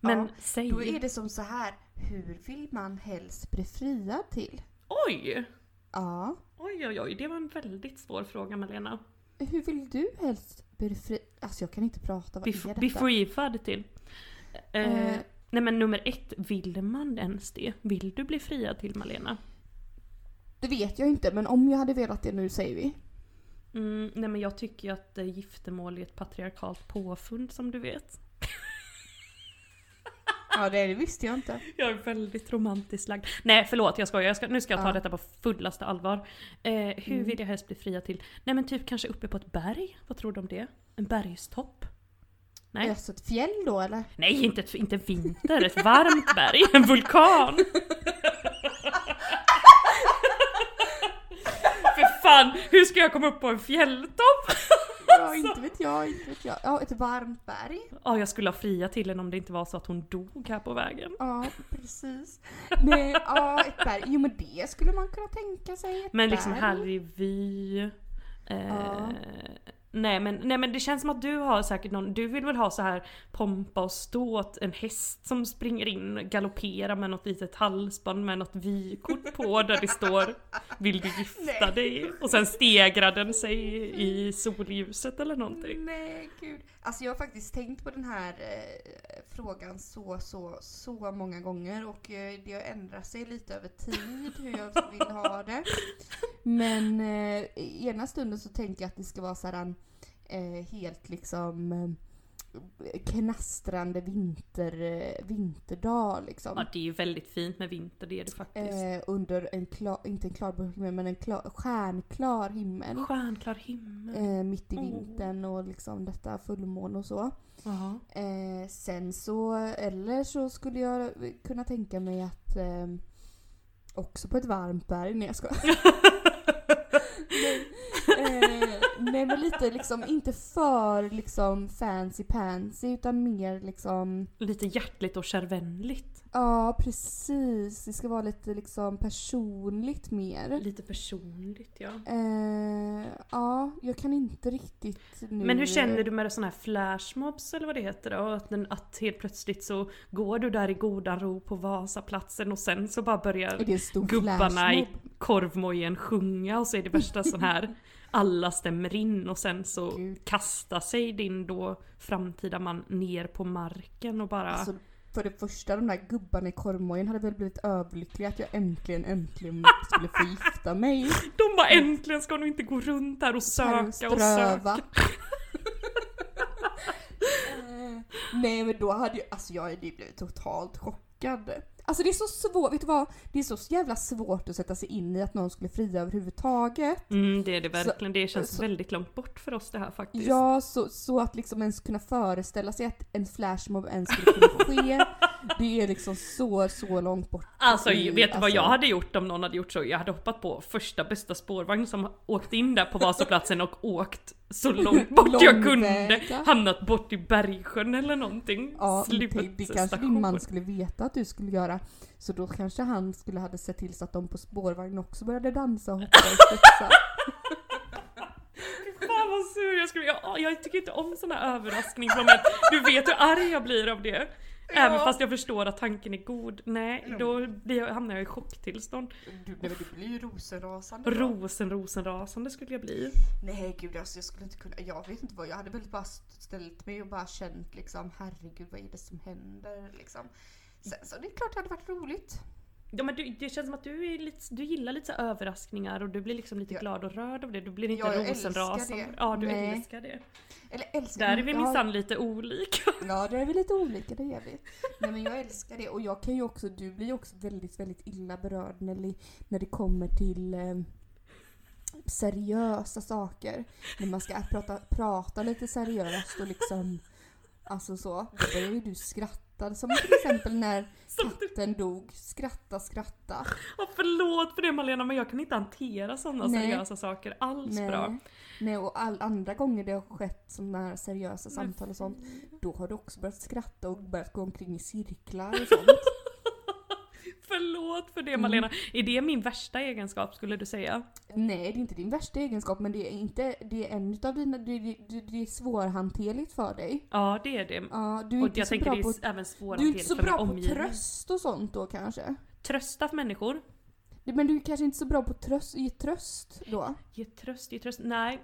Men Ja, säg... Då är det som så här, hur vill man helst bli friad till? Oj! Ja, Oj, oj, oj. Det var en väldigt svår fråga, Malena. hur vill du helst bli fri... Alltså jag kan inte prata, vad är Bef- detta? Befreefad till. Eh, Eh. Nej men nummer ett, vill man ens det? Vill du bli friad till Malena? Det vet jag inte men om jag hade velat det nu säger vi. Mm, nej men jag tycker ju att eh, giftermål är ett patriarkalt påfund som du vet. Ja det, det visste jag inte. Jag är väldigt romantiskt lagd. Nej förlåt jag skojar, jag ska, nu ska jag ta Ja. Mm. detta på fullaste allvar. Eh, hur vill jag helst bli fria till? Nej men typ kanske uppe på ett berg? Vad tror du om det? En bergstopp? Nej, Alltså ett fjäll då eller? Nej inte, ett- inte vinter, ett varmt berg, en vulkan! För fan, hur ska jag komma upp på en fjälltopp? Ja inte vet jag, inte vet jag. Ja ett varmt berg. Ja, jag skulle ha fria till henne om det inte var så att hon dog här på vägen. Ja precis. Nej, ja ett berg. Jo men det skulle man kunna tänka sig. Ett Men liksom berg. härlig vy. Eh, Ja. nej, men, nej men det känns som att du har säkert någon, du vill väl ha så här pompa och ståt, en häst som springer in, galopperar med något litet halsband med något vykort på där det står Vill du gifta dig? Och sen stegrar den sig i, i solljuset eller någonting. Nej gud. Alltså jag har faktiskt tänkt på den här eh, frågan så, så, så många gånger och eh, det har ändrat sig lite över tid hur jag vill ha det. Men eh, i ena stunden så tänker jag att det ska vara sådär eh, helt liksom eh, knastrande vinter, eh, vinterdag liksom. Ja, det är ju väldigt fint med vinter, det är det faktiskt. Eh, under en klar, inte en klarblå himmel men en klar, stjärnklar himmel. Stjärnklar himmel. Eh, mitt i Åh. vintern och liksom detta fullmåne och så. Ja. Eh, sen så, eller så skulle jag kunna tänka mig att eh, också på ett varmt berg, nej jag skojar. eh, nej men lite liksom, inte för liksom fancy pansy utan mer liksom, Lite hjärtligt och kärvänligt. ja precis, det ska vara lite liksom personligt mer. Lite personligt ja. Eh, ja, jag kan inte riktigt nu. Men hur känner du med sådana här flashmobs eller vad det heter då? Att, den, att helt plötsligt så går du där i godan ro på Vasaplatsen och sen så bara Är börjar det en stor gubbarna i flashmob? korvmojen sjunga och så är det värsta sån här alla stämmer in och sen så Gud. kastar sig din då framtida man ner på marken och bara Alltså, för det första, de där gubbarna i korvmojen hade väl blivit överlyckliga att jag äntligen, äntligen skulle få gifta mig. De bara äntligen ska du inte gå runt här och söka och söka. mm. Ströva. Eh, Nej men då hade jag, alltså jag hade ju blivit totalt chockad. Alltså det är så svårt, vet du vad? Det är så jävla svårt att sätta sig in i att någon skulle fria överhuvudtaget. Mm, det är det verkligen. Det känns så- alltså- väldigt långt bort för oss det här faktiskt. Ja, så, så att liksom ens kunna föreställa sig att en flashmob ens skulle kunna ske, det är liksom så, så långt bort. Alltså i- vet du vad alltså- jag hade gjort om någon hade gjort så? Jag hade hoppat på första bästa spårvagn som åkte in där på Vasaplatsen och åkt så långt bort jag kunde. Långväga. Hamnat bort i Bergsjön eller någonting. Ja, det, det kanske din Slutstation. man skulle veta att du skulle göra. Så då kanske han skulle hade sett till så att de på spårvagn också började dansa och hoppa och studsa. Fan vad sur jag skulle jag, jag tycker inte om såna här överraskningsmoment. Du vet hur arg jag blir av det. Även fast jag förstår att tanken är god. Mm. Nej, då blir jag, hamnar jag i chocktillstånd. Du, nej, men du blir ju rosenrasande. då. Rosen, rosenrasande skulle jag bli. Nej gud alltså jag skulle inte kunna, jag vet inte vad, jag hade väl bara st- ställt mig och bara känt liksom herregud vad är det som händer liksom. Sen så det är klart det hade varit roligt. Ja, men du, det känns som att du, är lite, du gillar lite så här överraskningar och du blir liksom lite Ja. glad och rörd av det. Du blir inte Ja, jag rosenrasande. älskar det. Ja, du Nej. älskar det. Eller älskar Där är vi Ja. minsann lite olika. Ja, det är vi lite olika, det är vi. Nej men jag älskar det och jag kan ju också, du blir ju också väldigt, väldigt illa berörd när, li- när det kommer till eh, seriösa saker. När man ska prata, prata lite seriöst och liksom, alltså så. Då börjar ju du skratta. Som till exempel när Som du- katten dog. Skratta, skratta. Ja, förlåt för det Malena men jag kan inte hantera sådana Nej. seriösa saker alls bra. Nej, och all, andra gånger det har skett sådana här seriösa samtal och sånt, då har du också börjat skratta och börjat gå omkring i cirklar och sånt. Förlåt för det Mm. Malena. Är det min värsta egenskap skulle du säga? Nej, det är inte din värsta egenskap men det är, inte, det är en utav dina, det, det, det är svårhanterligt för dig. Ja det är det. Ja, du är och inte jag så tänker bra det är på, s- även svårt du är inte så för min bra på omgivning. tröst och sånt då kanske. Trösta för människor. Det- Men du är kanske inte så bra på tröst, ge tröst då. Ge tröst, ge tröst. Nej.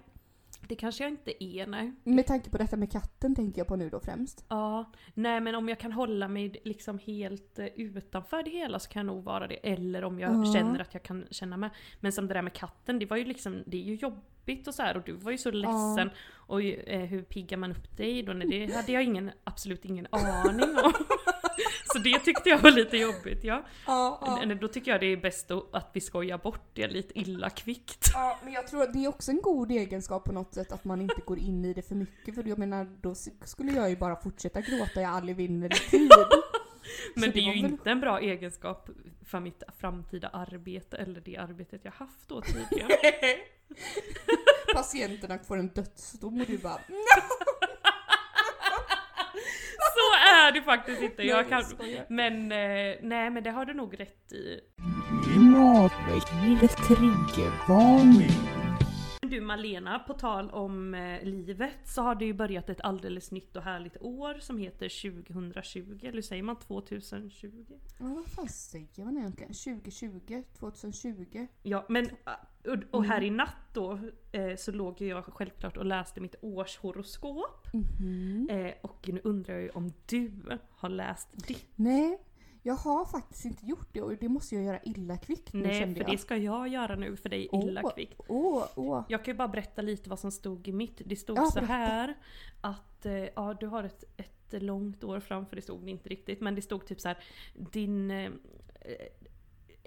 Det kanske jag inte är nej. Med tanke på detta med katten tänker jag på nu då främst. Ja, nej men om jag kan hålla mig liksom helt eh, utanför det hela så kan jag nog vara det. Eller om jag Ja. känner att jag kan känna med. Men som det där med katten, det var ju liksom, det är ju jobbigt och så här och du var ju så ledsen. Och ju, eh, hur piggar man upp dig då? Nej, det hade jag ingen, absolut ingen aning om. så det tyckte jag var lite jobbigt ja. Ja, Men Då tycker jag det är bäst att att vi skojar bort det lite illa kvickt. Ja, men jag tror att det är också en god egenskap på något sätt att man inte går in i det för mycket för jag menar då s- skulle jag ju bara fortsätta gråta i all evinnerlig tid. Men Så det är var ju väl- inte en bra egenskap för mitt framtida arbete eller det arbetet jag haft då tidigare. Patienterna får en dödsdom och du bara "Mm, Så är det faktiskt inte. Jag Nej, kan... jag skojar. Men eh, nej men det har du nog rätt i. Klimatväxlingens triggervarning. Men Du Malena, på tal om eh, livet så har det ju börjat ett alldeles nytt och härligt år som heter 2020. Eller säger man 2020? Ja, vad fan säger man egentligen? 2020? 2020? Ja men eh, och- och här i Mm. natt då eh, så låg ju jag självklart och läste mitt Mm-hmm. årshoroskop. Eh, och nu undrar jag ju om du har läst ditt. Nej, Jag har faktiskt inte gjort det och det måste jag göra illa kvickt nu Nej, kände för jag. det ska jag göra nu för dig illa kvickt. Åh, åh. Jag kan ju bara berätta lite vad som stod i mitt. Det stod Ja, så berätta. här att eh, ja, du har ett, ett långt år framför, det stod det inte riktigt, men det stod typ så här din eh,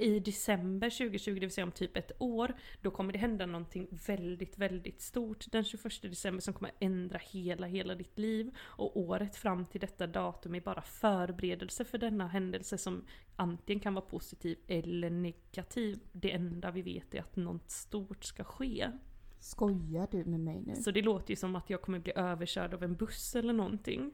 i december 2020, det vill säga om typ ett år, då kommer det hända någonting väldigt, väldigt stort den 21 december som kommer ändra hela, hela ditt liv. Och året fram till detta datum är bara förberedelse för denna händelse som antingen kan vara positiv eller negativ. Det enda vi vet är att något stort ska ske. Skojar du med mig nu? Så det låter ju som att jag kommer bli överkörd av en buss eller någonting.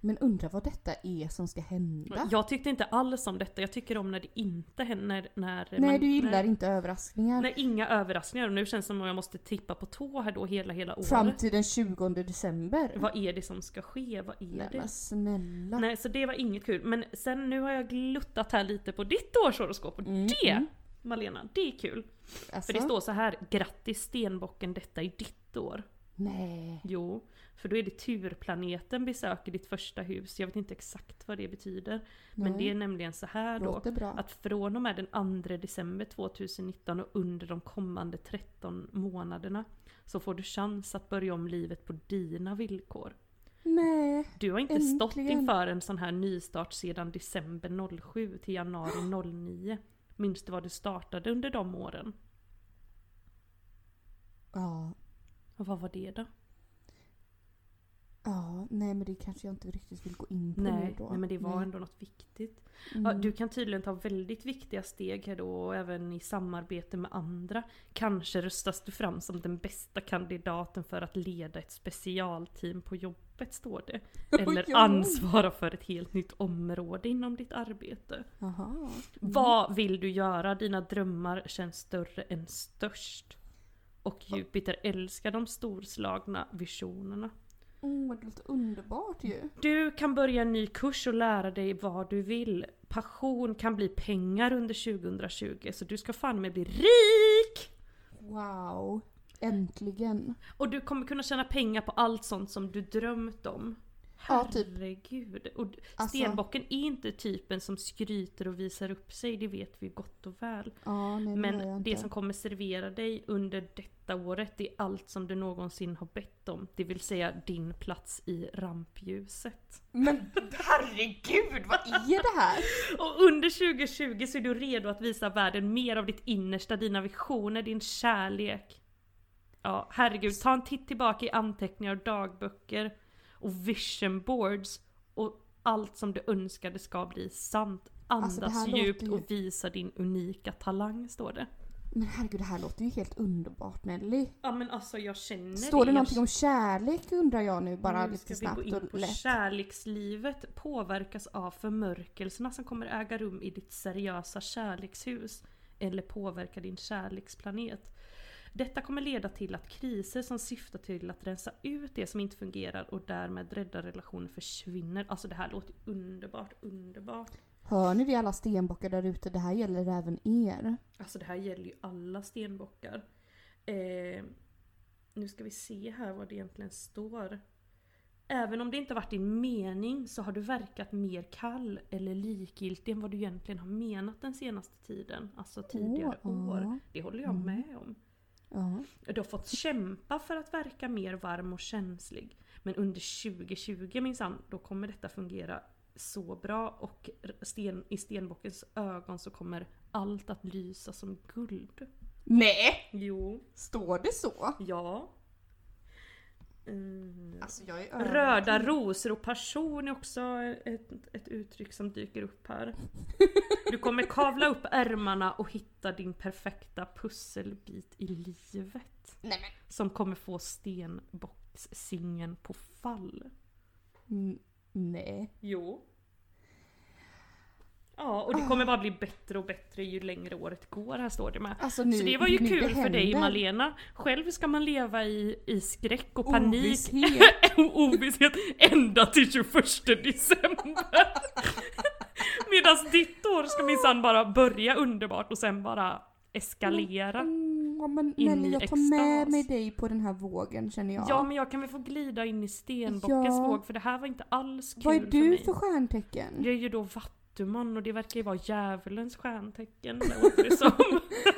Men undrar vad detta är som ska hända? Jag tyckte inte alls om detta, jag tycker om när det inte händer. När Nej, man- du gillar när- inte överraskningar. Nej, inga överraskningar. Och nu känns det som att jag måste tippa på tå här då hela, hela året. Fram till den 20 december? Vad är det som ska ske? Vad är Nej det? men snälla. Nej, så det var inget kul. Men sen nu har jag gluttat här lite på ditt årshoroskop och Mm, det, Malena, det är kul. alltså. För det står så här, grattis stenbocken, detta är ditt år. Nej. Jo, för då är det turplaneten besöker ditt första hus. Jag vet inte exakt vad det betyder. Men Nej. det är nämligen så här då. Låter bra. Att från och med den 2 december 2019 och under de kommande 13 månaderna så får du chans att börja om livet på dina villkor. Nej. Du har inte stått Äntligen. inför en sån här nystart sedan december 07 till januari 09. Minns du vad du startade under de åren? Ja. Och vad var det då? Ja, nej men det kanske jag inte riktigt vill gå in på nu Nej, då. nej men det var Nej. Mm. ändå något viktigt. Ja, du kan tydligen ta väldigt viktiga steg här då och även i samarbete med andra. Kanske röstas du fram som den bästa kandidaten för att leda ett specialteam på jobbet står det. Eller Oj, oj. ansvara för ett helt nytt område inom ditt arbete. Mm. Jaha. Vad vill du göra? Dina drömmar känns större än störst. Och Jupiter älskar de storslagna visionerna. Åh, det låter Oh, underbart ju. Du kan börja en ny kurs och lära dig vad du vill. Passion kan bli pengar under 2020 så du ska fan med bli rik! Wow. Äntligen. Och du kommer kunna tjäna pengar på allt sånt som du drömt om. Ja, typ. Herregud. Och d- Alltså- stenbocken är inte typen som skryter och visar upp sig, det vet vi gott och väl. Ja, nej, det gör jag Men inte. det som kommer servera dig under detta året är allt som du någonsin har bett om. Det vill säga din plats i rampljuset. Men Herregud vad i... ge det här! Och under 2020 så är du redo att visa världen mer av ditt innersta, dina visioner, din kärlek. Ja, herregud. Ta en titt tillbaka i anteckningar och dagböcker och vision boards och allt som du önskade ska bli sant. Andas Alltså, det här djupt låter ju- och visa din unika talang, står det. Men herregud, det här låter ju helt underbart Nelly. Ja men alltså jag känner Står det Jag någonting om kärlek undrar jag nu bara Nu lite ska snabbt vi gå in på och lätt. kärlekslivet påverkas av förmörkelserna som kommer äga rum i ditt seriösa kärlekshus eller påverka din kärleksplanet. Detta kommer leda till att kriser som syftar till att rensa ut det som inte fungerar och därmed rädda relationer försvinner. Alltså det här låter underbart, underbart. Hör ni det alla stenbockar där ute? Det här gäller även er. Alltså det här gäller ju alla stenbockar. Eh, nu ska vi se här vad det egentligen står. Även om det inte har varit din mening så har du verkat mer kall eller likgiltig än vad du egentligen har menat den senaste tiden. Alltså tidigare Åh, ja. år. Det håller jag med om. Ja. Du har fått kämpa för att verka mer varm och känslig. Men under 2020 minsann, då kommer detta fungera så bra och sten, i stenbockens ögon så kommer allt att lysa som guld. Nej! Jo, Står det så? ja. Mm. Alltså jag är Röda rosor och passion är också ett, ett uttryck som dyker upp här. Du kommer kavla upp ärmarna och hitta din perfekta pusselbit i livet. Som kommer få stenbockssingen på fall. Mm, nej. Jo. Ja, och det kommer bara bli bättre och bättre ju längre året går, här står det med. Alltså nu, Så det var ju nu kul det för dig händer. Malena. Själv ska man leva i, i skräck och Oh, panik Ovisshet. och ovisshet ända till 21 december. Medan ditt år ska minsann bara börja underbart och sen bara eskalera. Mm, ja, men in Nelly, i jag tar med extas. mig dig på den här vågen känner jag. Ja men jag kan väl få glida in i stenbockens Ja. våg för det här var inte alls kul Vad är för du mig. för stjärntecken? Jag är ju då vatten. Gattuman och det verkar ju vara djävulens stjärntecken liksom. låter det som.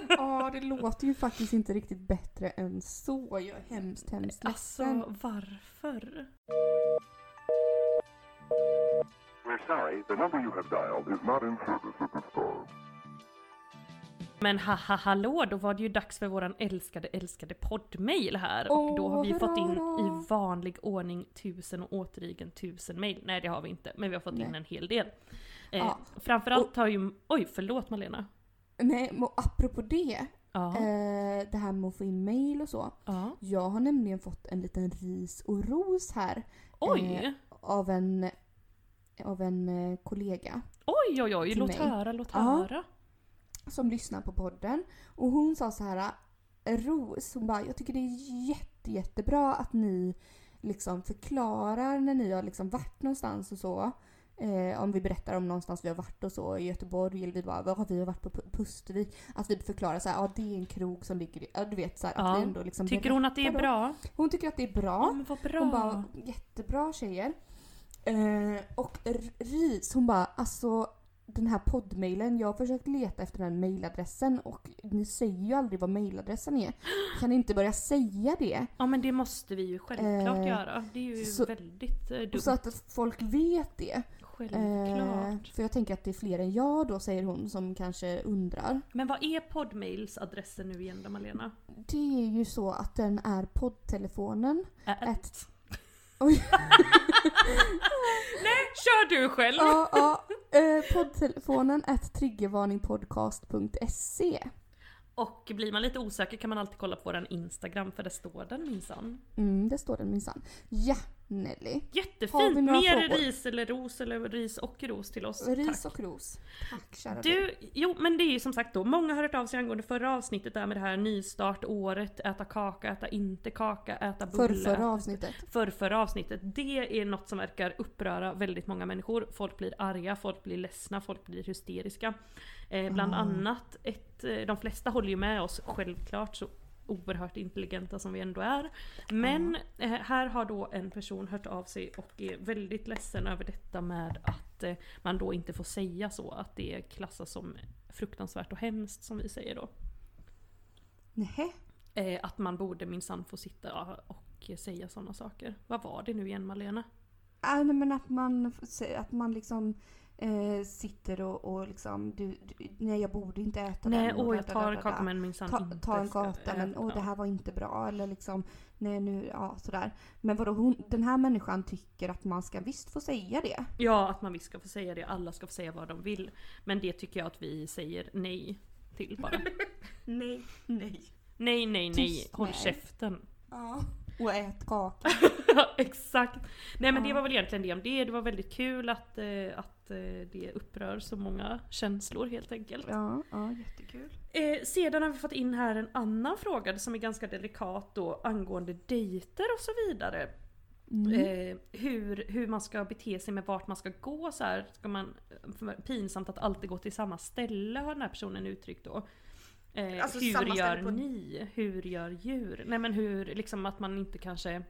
Ja, det låter ju faktiskt inte riktigt bättre än så. Jag är hemskt, hemskt Alltså ledsen. varför? We're sorry, the number you have dialed is not in service at this time. Men haha hallå, då var det ju dags för våran älskade älskade poddmail här. och då har vi Åh, fått in hurra. i vanlig ordning tusen och återigen tusen mail. Nej det har vi inte, men vi har fått in Nej. en hel del. Eh, Ja. Framförallt har ju... Oj förlåt Malena. Nej, men apropå det. Ja. Eh, det här med att få in mail och så. ja. Jag har nämligen fått en liten ris och ros här Oj! eh, av en, av en eh, kollega oj oj oj, till låt mig. höra, låt Ja. höra. som lyssnar på podden. Och hon sa så här, ros, hon bara jag tycker det är jätte, jättebra att ni liksom förklarar när ni har liksom varit någonstans och så. Eh, om vi berättar om någonstans vi har varit och så i Göteborg eller vi bara "Vad har vi varit på P- Pustervik. Att vi förklarar så här, ja det är en krog som ligger i, ja du vet så här, Ja. att vi ändå liksom Tycker hon att det är berättar då. bra? Hon tycker att det är bra. Ja, men vad bra! Hon bara, jättebra tjejer. Eh, och R- Ris, hon bara, alltså den här poddmailen, jag har försökt leta efter den här mailadressen och ni säger ju aldrig vad mailadressen är. Kan ni inte börja säga det? Ja men det måste vi ju självklart Eh, göra. Det är ju så- väldigt eh, dumt. Och så att folk vet det. Eh, självklart. för jag tänker att det är fler än jag då, säger hon, som kanske undrar. Men vad är poddmailsadressen nu igen då Malena? Det är ju så att den är poddtelefonen. Ä- Ett. Oj. Nej, kör du själv! Ja, ja. Eh, poddtelefonen at triggervarningpodcast.se. Och blir man lite osäker kan man alltid kolla på våran Instagram för där står den minsann. Mm, det står den minsann. Ja, Nelly. Har vi Jättefint! några Mer frågor? ris eller ros eller ris och ros till oss. Ris Tack. och ros. Tack kära du. Du, jo men det är ju som sagt då, många har hört av sig angående förra avsnittet där med det här nystart, året, äta kaka, äta inte kaka, äta bulle. För förra avsnittet. för förra avsnittet. Det är något som verkar uppröra väldigt många människor. Folk blir arga, folk blir ledsna, folk blir hysteriska. Eh, bland annat, ett, eh, de flesta håller ju med oss självklart så oerhört intelligenta som vi ändå är. Men eh, här har då en person hört av sig och är väldigt ledsen över detta med att eh, man då inte får säga så, att det klassas som fruktansvärt och hemskt som vi säger då. Nähä. Eh, att man borde minsann få sitta och säga sådana saker. Vad var det nu igen Malena? Äh, nej, men att man, att man liksom eh, sitter och, och liksom du, du, nej jag borde inte äta Nej, den. och åh da, jag da, tar da, en da, kaka da. men minsann Ta, inte ta en ska gata men äta. åh det här var inte bra eller liksom nej nu ja sådär. Men vadå hon, den här människan tycker att man ska visst få säga det. Ja, att man visst ska få säga det. Alla ska få säga vad de vill. Men det tycker jag att vi säger nej till bara. Nej, nej. nej, nej, nej. Tyst Håll med er. käften. Ja. Och ät kaka. Ja, Exakt. Nej men det var väl egentligen det om det. Det var väldigt kul att, eh, att eh, det upprör så många känslor helt enkelt. Ja, ja jättekul. Eh, sedan har vi fått in här en annan fråga som är ganska delikat då angående dejter och så vidare. Eh, hur, hur man ska bete sig med vart man ska gå så här. Ska man, pinsamt att alltid gå till samma ställe har den här personen uttryckt då. Eh, Alltså, samma hur ställe gör på- ni? Hur gör djur? Nej men hur, liksom att man inte kanske...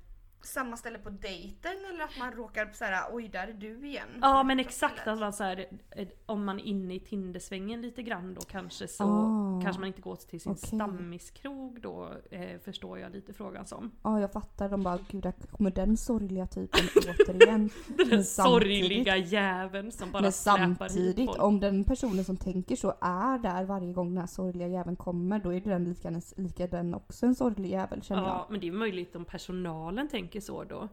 Samma ställe på dejten eller att man råkar såhär oj där är du igen. Ja men exakt, alltså. att man så här, eh, om man är inne i Tindersvängen lite grann då kanske så Ah. kanske man inte går till sin Okej. stammiskrog då eh, förstår jag lite frågan som. Ja, jag fattar. De bara, gud, där kommer den sorgliga typen återigen. Den Men samtidigt- sorgliga jäveln som bara Men släpar hit samtidigt, folk. om den personen som tänker så är där varje gång den här sorgliga jäveln kommer, då är den lika, lika den också en sorglig jävel känner Ja, men det är möjligt om personalen tänker så då. jag.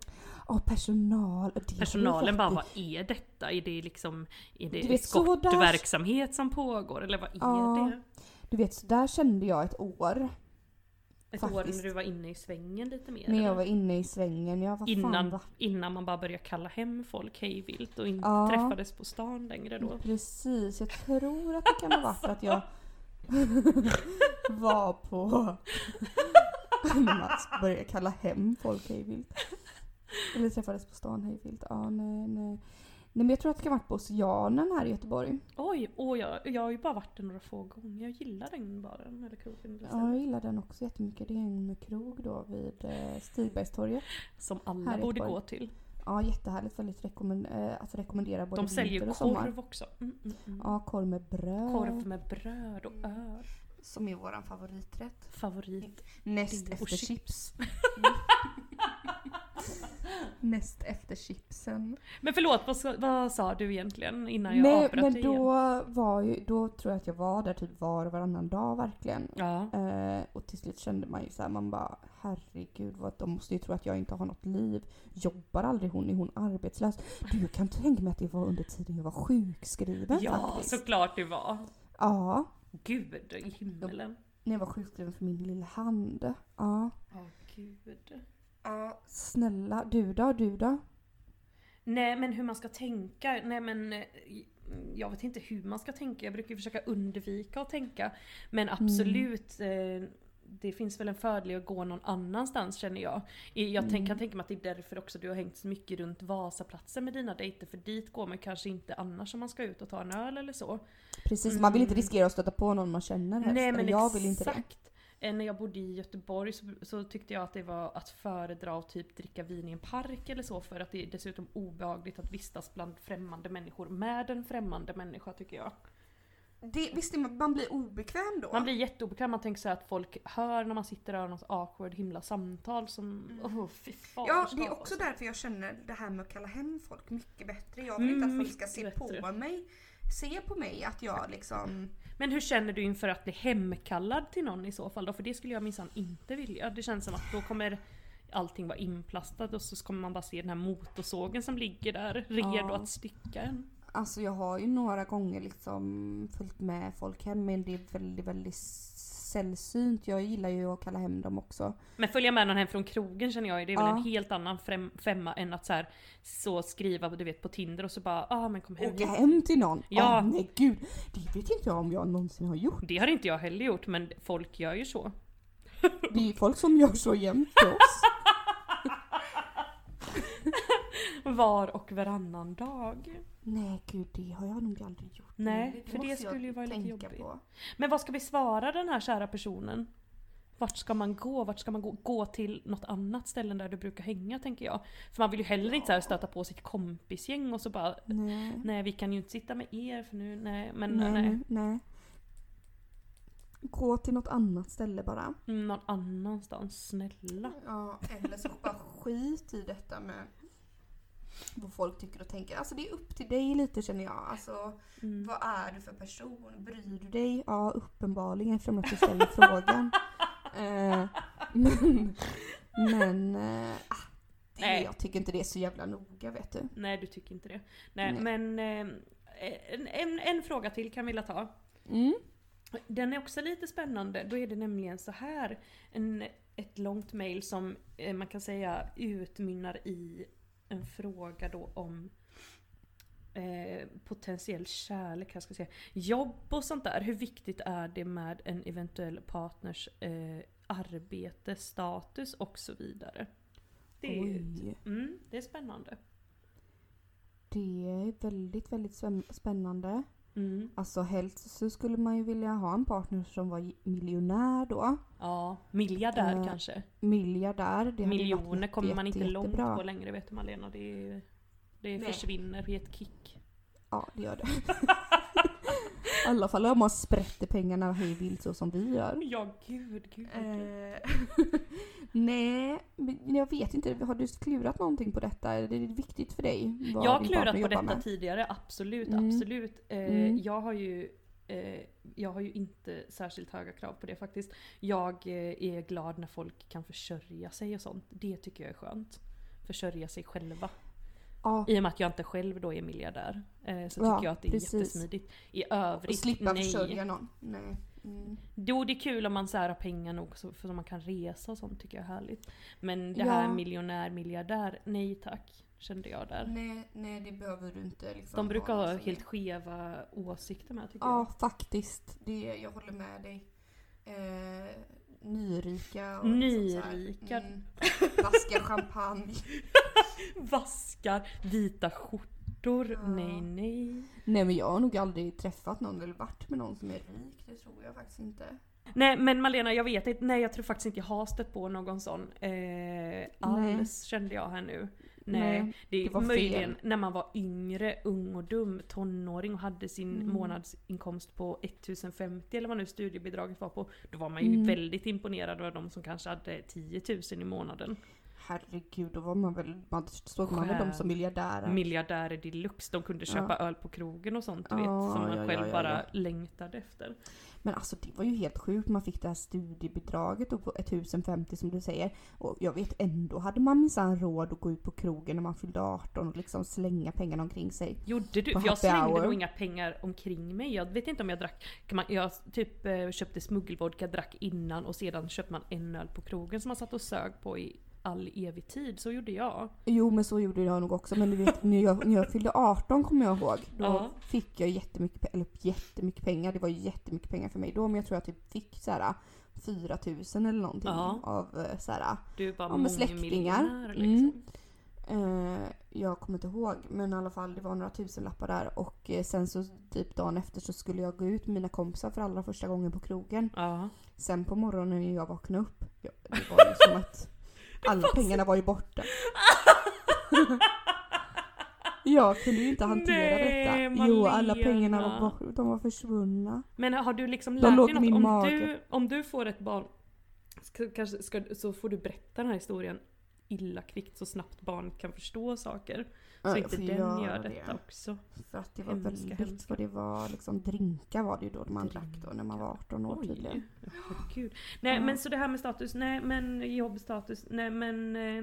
Åh, personal. det har du Personalen fått bara i. vad är detta? Är det liksom är Du det vet, så där- skottverksamhet som pågår eller vad är Ja, det? Du vet, så där kände jag ett år. Ett år faktiskt. när du var inne i svängen lite mer? När eller? jag var inne i svängen. Jag var fan innan, va? innan man bara började kalla hem folk hejvilt och inte Ja. Mm. träffades på stan längre då. Precis, jag tror att det kan ha varit att jag var på... när man började kalla hem folk hejvilt. Eller träffades på stan hejvilt. Ja, nej, nej. Nej men jag tror att det kan ha varit på Oceanen här i Göteborg. Oj, åh, jag, jag har ju bara varit där några få gånger. Jag gillar den baren eller krogen. eller Ja, jag stället. gillar den också jättemycket. Det är en krog då vid eh, Stigbergstorget. Som alla Här i borde Göteborg. gå till. Ja, jättehärligt. Väldigt rekommend- eh, att rekommendera både De vinter säljer och sommar. korv också. Mm, mm, mm. Ja, korv med bröd. Korv med bröd och öl. Som är våran favoriträtt. Favorit. Näst Och efter chips. chips. Mm. Näst efter chipsen. Men förlåt, vad, sa- vad sa du egentligen innan jag Nej, avbröt men dig då igen? var ju, då tror jag att jag var där typ var och varannan dag verkligen. Ja. Eh, och till slut kände man ju såhär, man bara herregud vad de måste ju tro att jag inte har något liv. Jobbar aldrig hon? Är hon arbetslös? Du jag kan tänka mig att det var under tiden jag var sjukskriven ja, faktiskt. såklart det var. Ja, Gud i himmelen. när jag var sjukskriven för min lilla hand. Ja, Åh gud. Ja, snälla. Du då? Du då? Nej men hur man ska tänka, nej men eh, jag vet inte hur man ska tänka. Jag brukar ju försöka undvika att tänka. Men Mm. absolut, eh, det finns väl en fördel i att gå någon annanstans känner jag. I- Jag Mm. tänk, kan tänka mig att det är därför också du har hängt så mycket runt Vasaplatsen med dina dejter. För dit går man kanske inte annars om man ska ut och ta en öl eller så. Precis, man vill Mm. inte riskera att stöta på någon man känner helst. Nej Eller men jag exakt. vill inte det. Eh, När jag bodde i Göteborg så, så tyckte jag att det var att föredra att typ dricka vin i en park eller så för att det är dessutom obehagligt att vistas bland främmande människor med en främmande människa tycker jag. det, visst, är man man blir obekväm då? Man blir jätteobekväm, man tänker så här att folk hör när man sitter och har något awkward himla samtal som... Mm. Oh, fy fan, Ja, förstår det är jag. också därför jag känner det här med att kalla hem folk mycket bättre. Jag vill inte att folk ska se Mm, Mycket bättre. på mig, se på mig att jag liksom... Men hur känner du inför att bli hemkallad till någon i så fall då? För det skulle jag minsann inte vilja. Det känns som att då kommer allting vara inplastat och så kommer man bara se den här motorsågen som ligger där redo Ja. att stycka en. Alltså jag har ju några gånger liksom följt med folk hem men det är väldigt, väldigt sällsynt. Jag gillar ju att kalla hem dem också. Men följa med någon hem från krogen känner jag ju, det är väl Ja. en helt annan fem, femma än att så, här, så skriva du vet, på Tinder och så bara ah men kom hem. Åka hem till någon? Ja. Åh, nej gud, det vet inte jag om jag någonsin har gjort. Det har inte jag heller gjort men folk gör ju så. Det är ju folk som gör så jämt till oss. Var och varannan dag. nej gud, det har jag nog aldrig gjort. Nej, för det Mm. måste jag skulle ju vara lite tänka jobbigt. på. Men vad ska vi svara den här kära personen? Vart ska man gå? Vart ska man gå? Gå till något annat ställe där du brukar hänga tänker jag. För man vill ju heller inte så här stöta på sitt kompisgäng och så bara Nej. Nej vi kan ju inte sitta med er för nu, nej men nej. Nej, nej. nej. Gå till något annat ställe bara. Mm, Någon annanstans, snälla. Ja, eller så bara skit i detta med vad folk tycker och tänker. Alltså det är upp till dig lite känner jag. Alltså Mm. vad är du för person? Bryr du dig? Dig? Ja, uppenbarligen eftersom att du ställer frågan. Eh, men men eh, ah, det, Nej. jag tycker inte det är så jävla noga vet du. Nej du tycker inte det. Nej, Nej. men eh, en, en, en fråga till kan vi la ta. Mm. Den är också lite spännande. Då är det nämligen så här. En, ett långt mail som eh, man kan säga utmynnar i en fråga då om eh, potentiell kärlek, jag ska jag säga. Jobb och sånt där. Hur viktigt är det med en eventuell partners eh, arbete, status och så vidare? Det är, ju- Oj. mm, det är spännande. Det är väldigt, väldigt späm- spännande. Mm. Alltså helst så skulle man ju vilja ha en partner som var miljonär då. Ja, miljardär Eh, kanske. Miljardär. Det hade ju varit Miljoner kommer man inte jätte- långt jättebra. på längre vet du Malena. Det, är- det försvinner i ett kick. Ja, det gör det. I alla fall om man sprätter pengarna hej vilt så som vi gör. Ja gud, gud. Eh, Nej, men jag vet inte. Har du klurat någonting på detta? Är det viktigt för dig? vad jag har din klurat partner på jobbar detta med? tidigare, absolut, Mm. absolut. Eh, Mm. Jag har ju eh, jag har ju inte särskilt höga krav på det faktiskt. Jag eh, är glad när folk kan försörja sig och sånt. Det tycker jag är skönt. Försörja sig själva. Ja, I och med att jag inte själv då är miljardär. Eh, så tycker Ja, jag att det är precis. jättesmidigt. I övrigt, Och slippa nej. försörja någon. Nej. Mm. Jo det är kul om man så här har pengar nog så, för att man kan resa och sånt tycker jag är härligt. Men det här Ja. miljonär, miljardär, nej tack. Kände jag där. Nej, nej det behöver du inte. Liksom, De brukar någon alltså ha som är- helt skeva åsikter med tycker ja faktiskt. Det, jag håller med dig. Eh, nyrika jag. och liksom så här, Nyrika, mm, Vaska champagne. vaskar, vita skjortor, nej nej. Nej men jag har nog aldrig träffat någon. Någon eller varit med någon som är rik, det tror jag faktiskt inte. Nej men Malena jag vet inte, nej jag tror faktiskt inte jag har stött på någon sån eh, alls kände jag här nu. Nej, Nej, det, det var var möjligen fel. när man var yngre, ung och dum, tonåring och hade sin Mm. månadsinkomst på 1050 eller vad nu studiebidraget var på. Då var man ju Mm. väldigt imponerad av de som kanske hade 10 000 i månaden. Herregud, då var man väl, man såg man väl dem som miljardärer. Miljardärer deluxe, de kunde köpa öl på krogen och sånt du vet. Ja, Som man ja, själv ja, ja, bara ja. längtade efter. Men alltså det var ju helt sjukt, man fick det här studiebidraget och på 1050 som du säger. Och jag vet ändå hade man minsann råd att gå ut på krogen när man fyllde 18 och liksom slänga pengarna omkring sig. Gjorde du? På För jag happy slängde hour. nog inga pengar omkring mig. Jag vet inte om jag drack... Kan man, jag typ eh, köpte smuggelvodka, drack innan och sedan köpte man en öl på krogen som man satt och sög på i all evig tid. Så gjorde jag. Jo men så gjorde jag nog också men du vet när jag, när jag fyllde 18 kommer jag ihåg. Då Ja. fick jag jättemycket, pe- eller jättemycket pengar, det var ju jättemycket pengar för mig då men jag tror jag typ fick såhär 4000 eller någonting Ja. av eh, såhär Du var Ja, men släktingar. mångmiljonär Mm. liksom. Eh, jag kommer inte ihåg men i alla fall det var några tusenlappar där och eh, sen så typ dagen efter så skulle jag gå ut med mina kompisar för allra första gången på krogen. Ja. Sen på morgonen när jag vaknade upp, ja, det var ju som att alla pengarna var ju borta. jag kunde ju inte hantera Nej, detta. Jo, alla Malena. pengarna var borta, de var försvunna. Men har du liksom De lärt låg dig i något? min Om mage. du, om du får ett barn ska, kanske, ska, så får du berätta den här historien illa kvickt så snabbt barn kan förstå saker. Så Ja, jag inte får den göra gör det. detta också. För att det var Hemska, väldigt, hemska. vad det var liksom drinkar var det ju då man drack då när man var 18 år Oj, tydligen. ja, herregud. Nej men så det här med status, nej men jobbstatus, nej men eh, nej.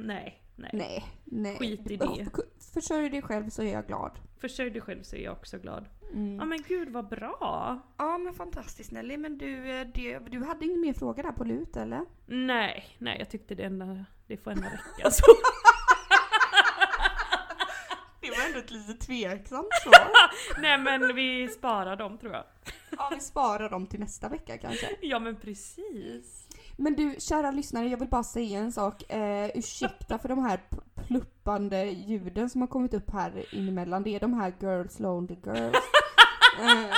nej. Nej, nej. Skit i Ja, det. Försörj dig själv så är jag glad. Försörj dig själv så är jag också glad. Mm. Ja men gud vad bra! Ja men fantastiskt Nelly, men du, eh, det, du hade ingen mer fråga där på lut eller? Nej, nej jag tyckte det, enda, det får ändå räcka Alltså. så. Det var ändå ett lite tveksamt svar. nej men vi sparar dem tror jag. Ja vi sparar dem till nästa vecka kanske. Ja men precis. Men du kära lyssnare, jag vill bara säga en sak. Eh, ursäkta för de här p- pluppande ljuden som har kommit upp här inemellan. Det är de här girls lonely girls. eh,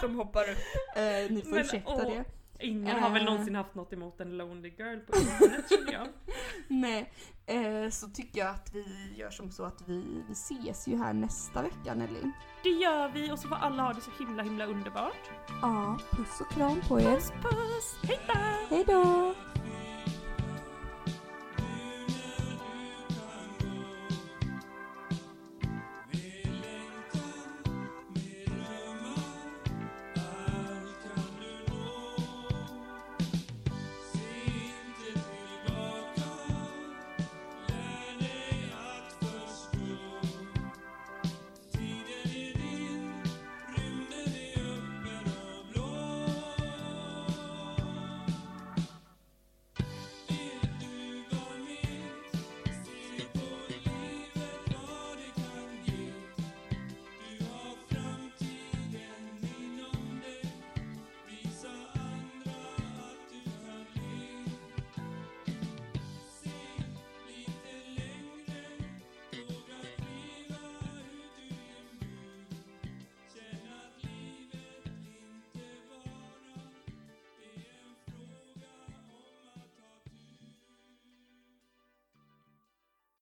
Som hoppar upp. eh, ni får Men, ursäkta åh. det. Ingen har väl Eh. någonsin haft något emot en lonely girl på internet känner jag. Nej, eh, så tycker jag att vi gör som så att vi, vi ses ju här nästa vecka Nelly. Det gör vi och så får alla ha det så himla himla underbart. Ja, puss och kram på er. Puss puss! Hej då! Hej då!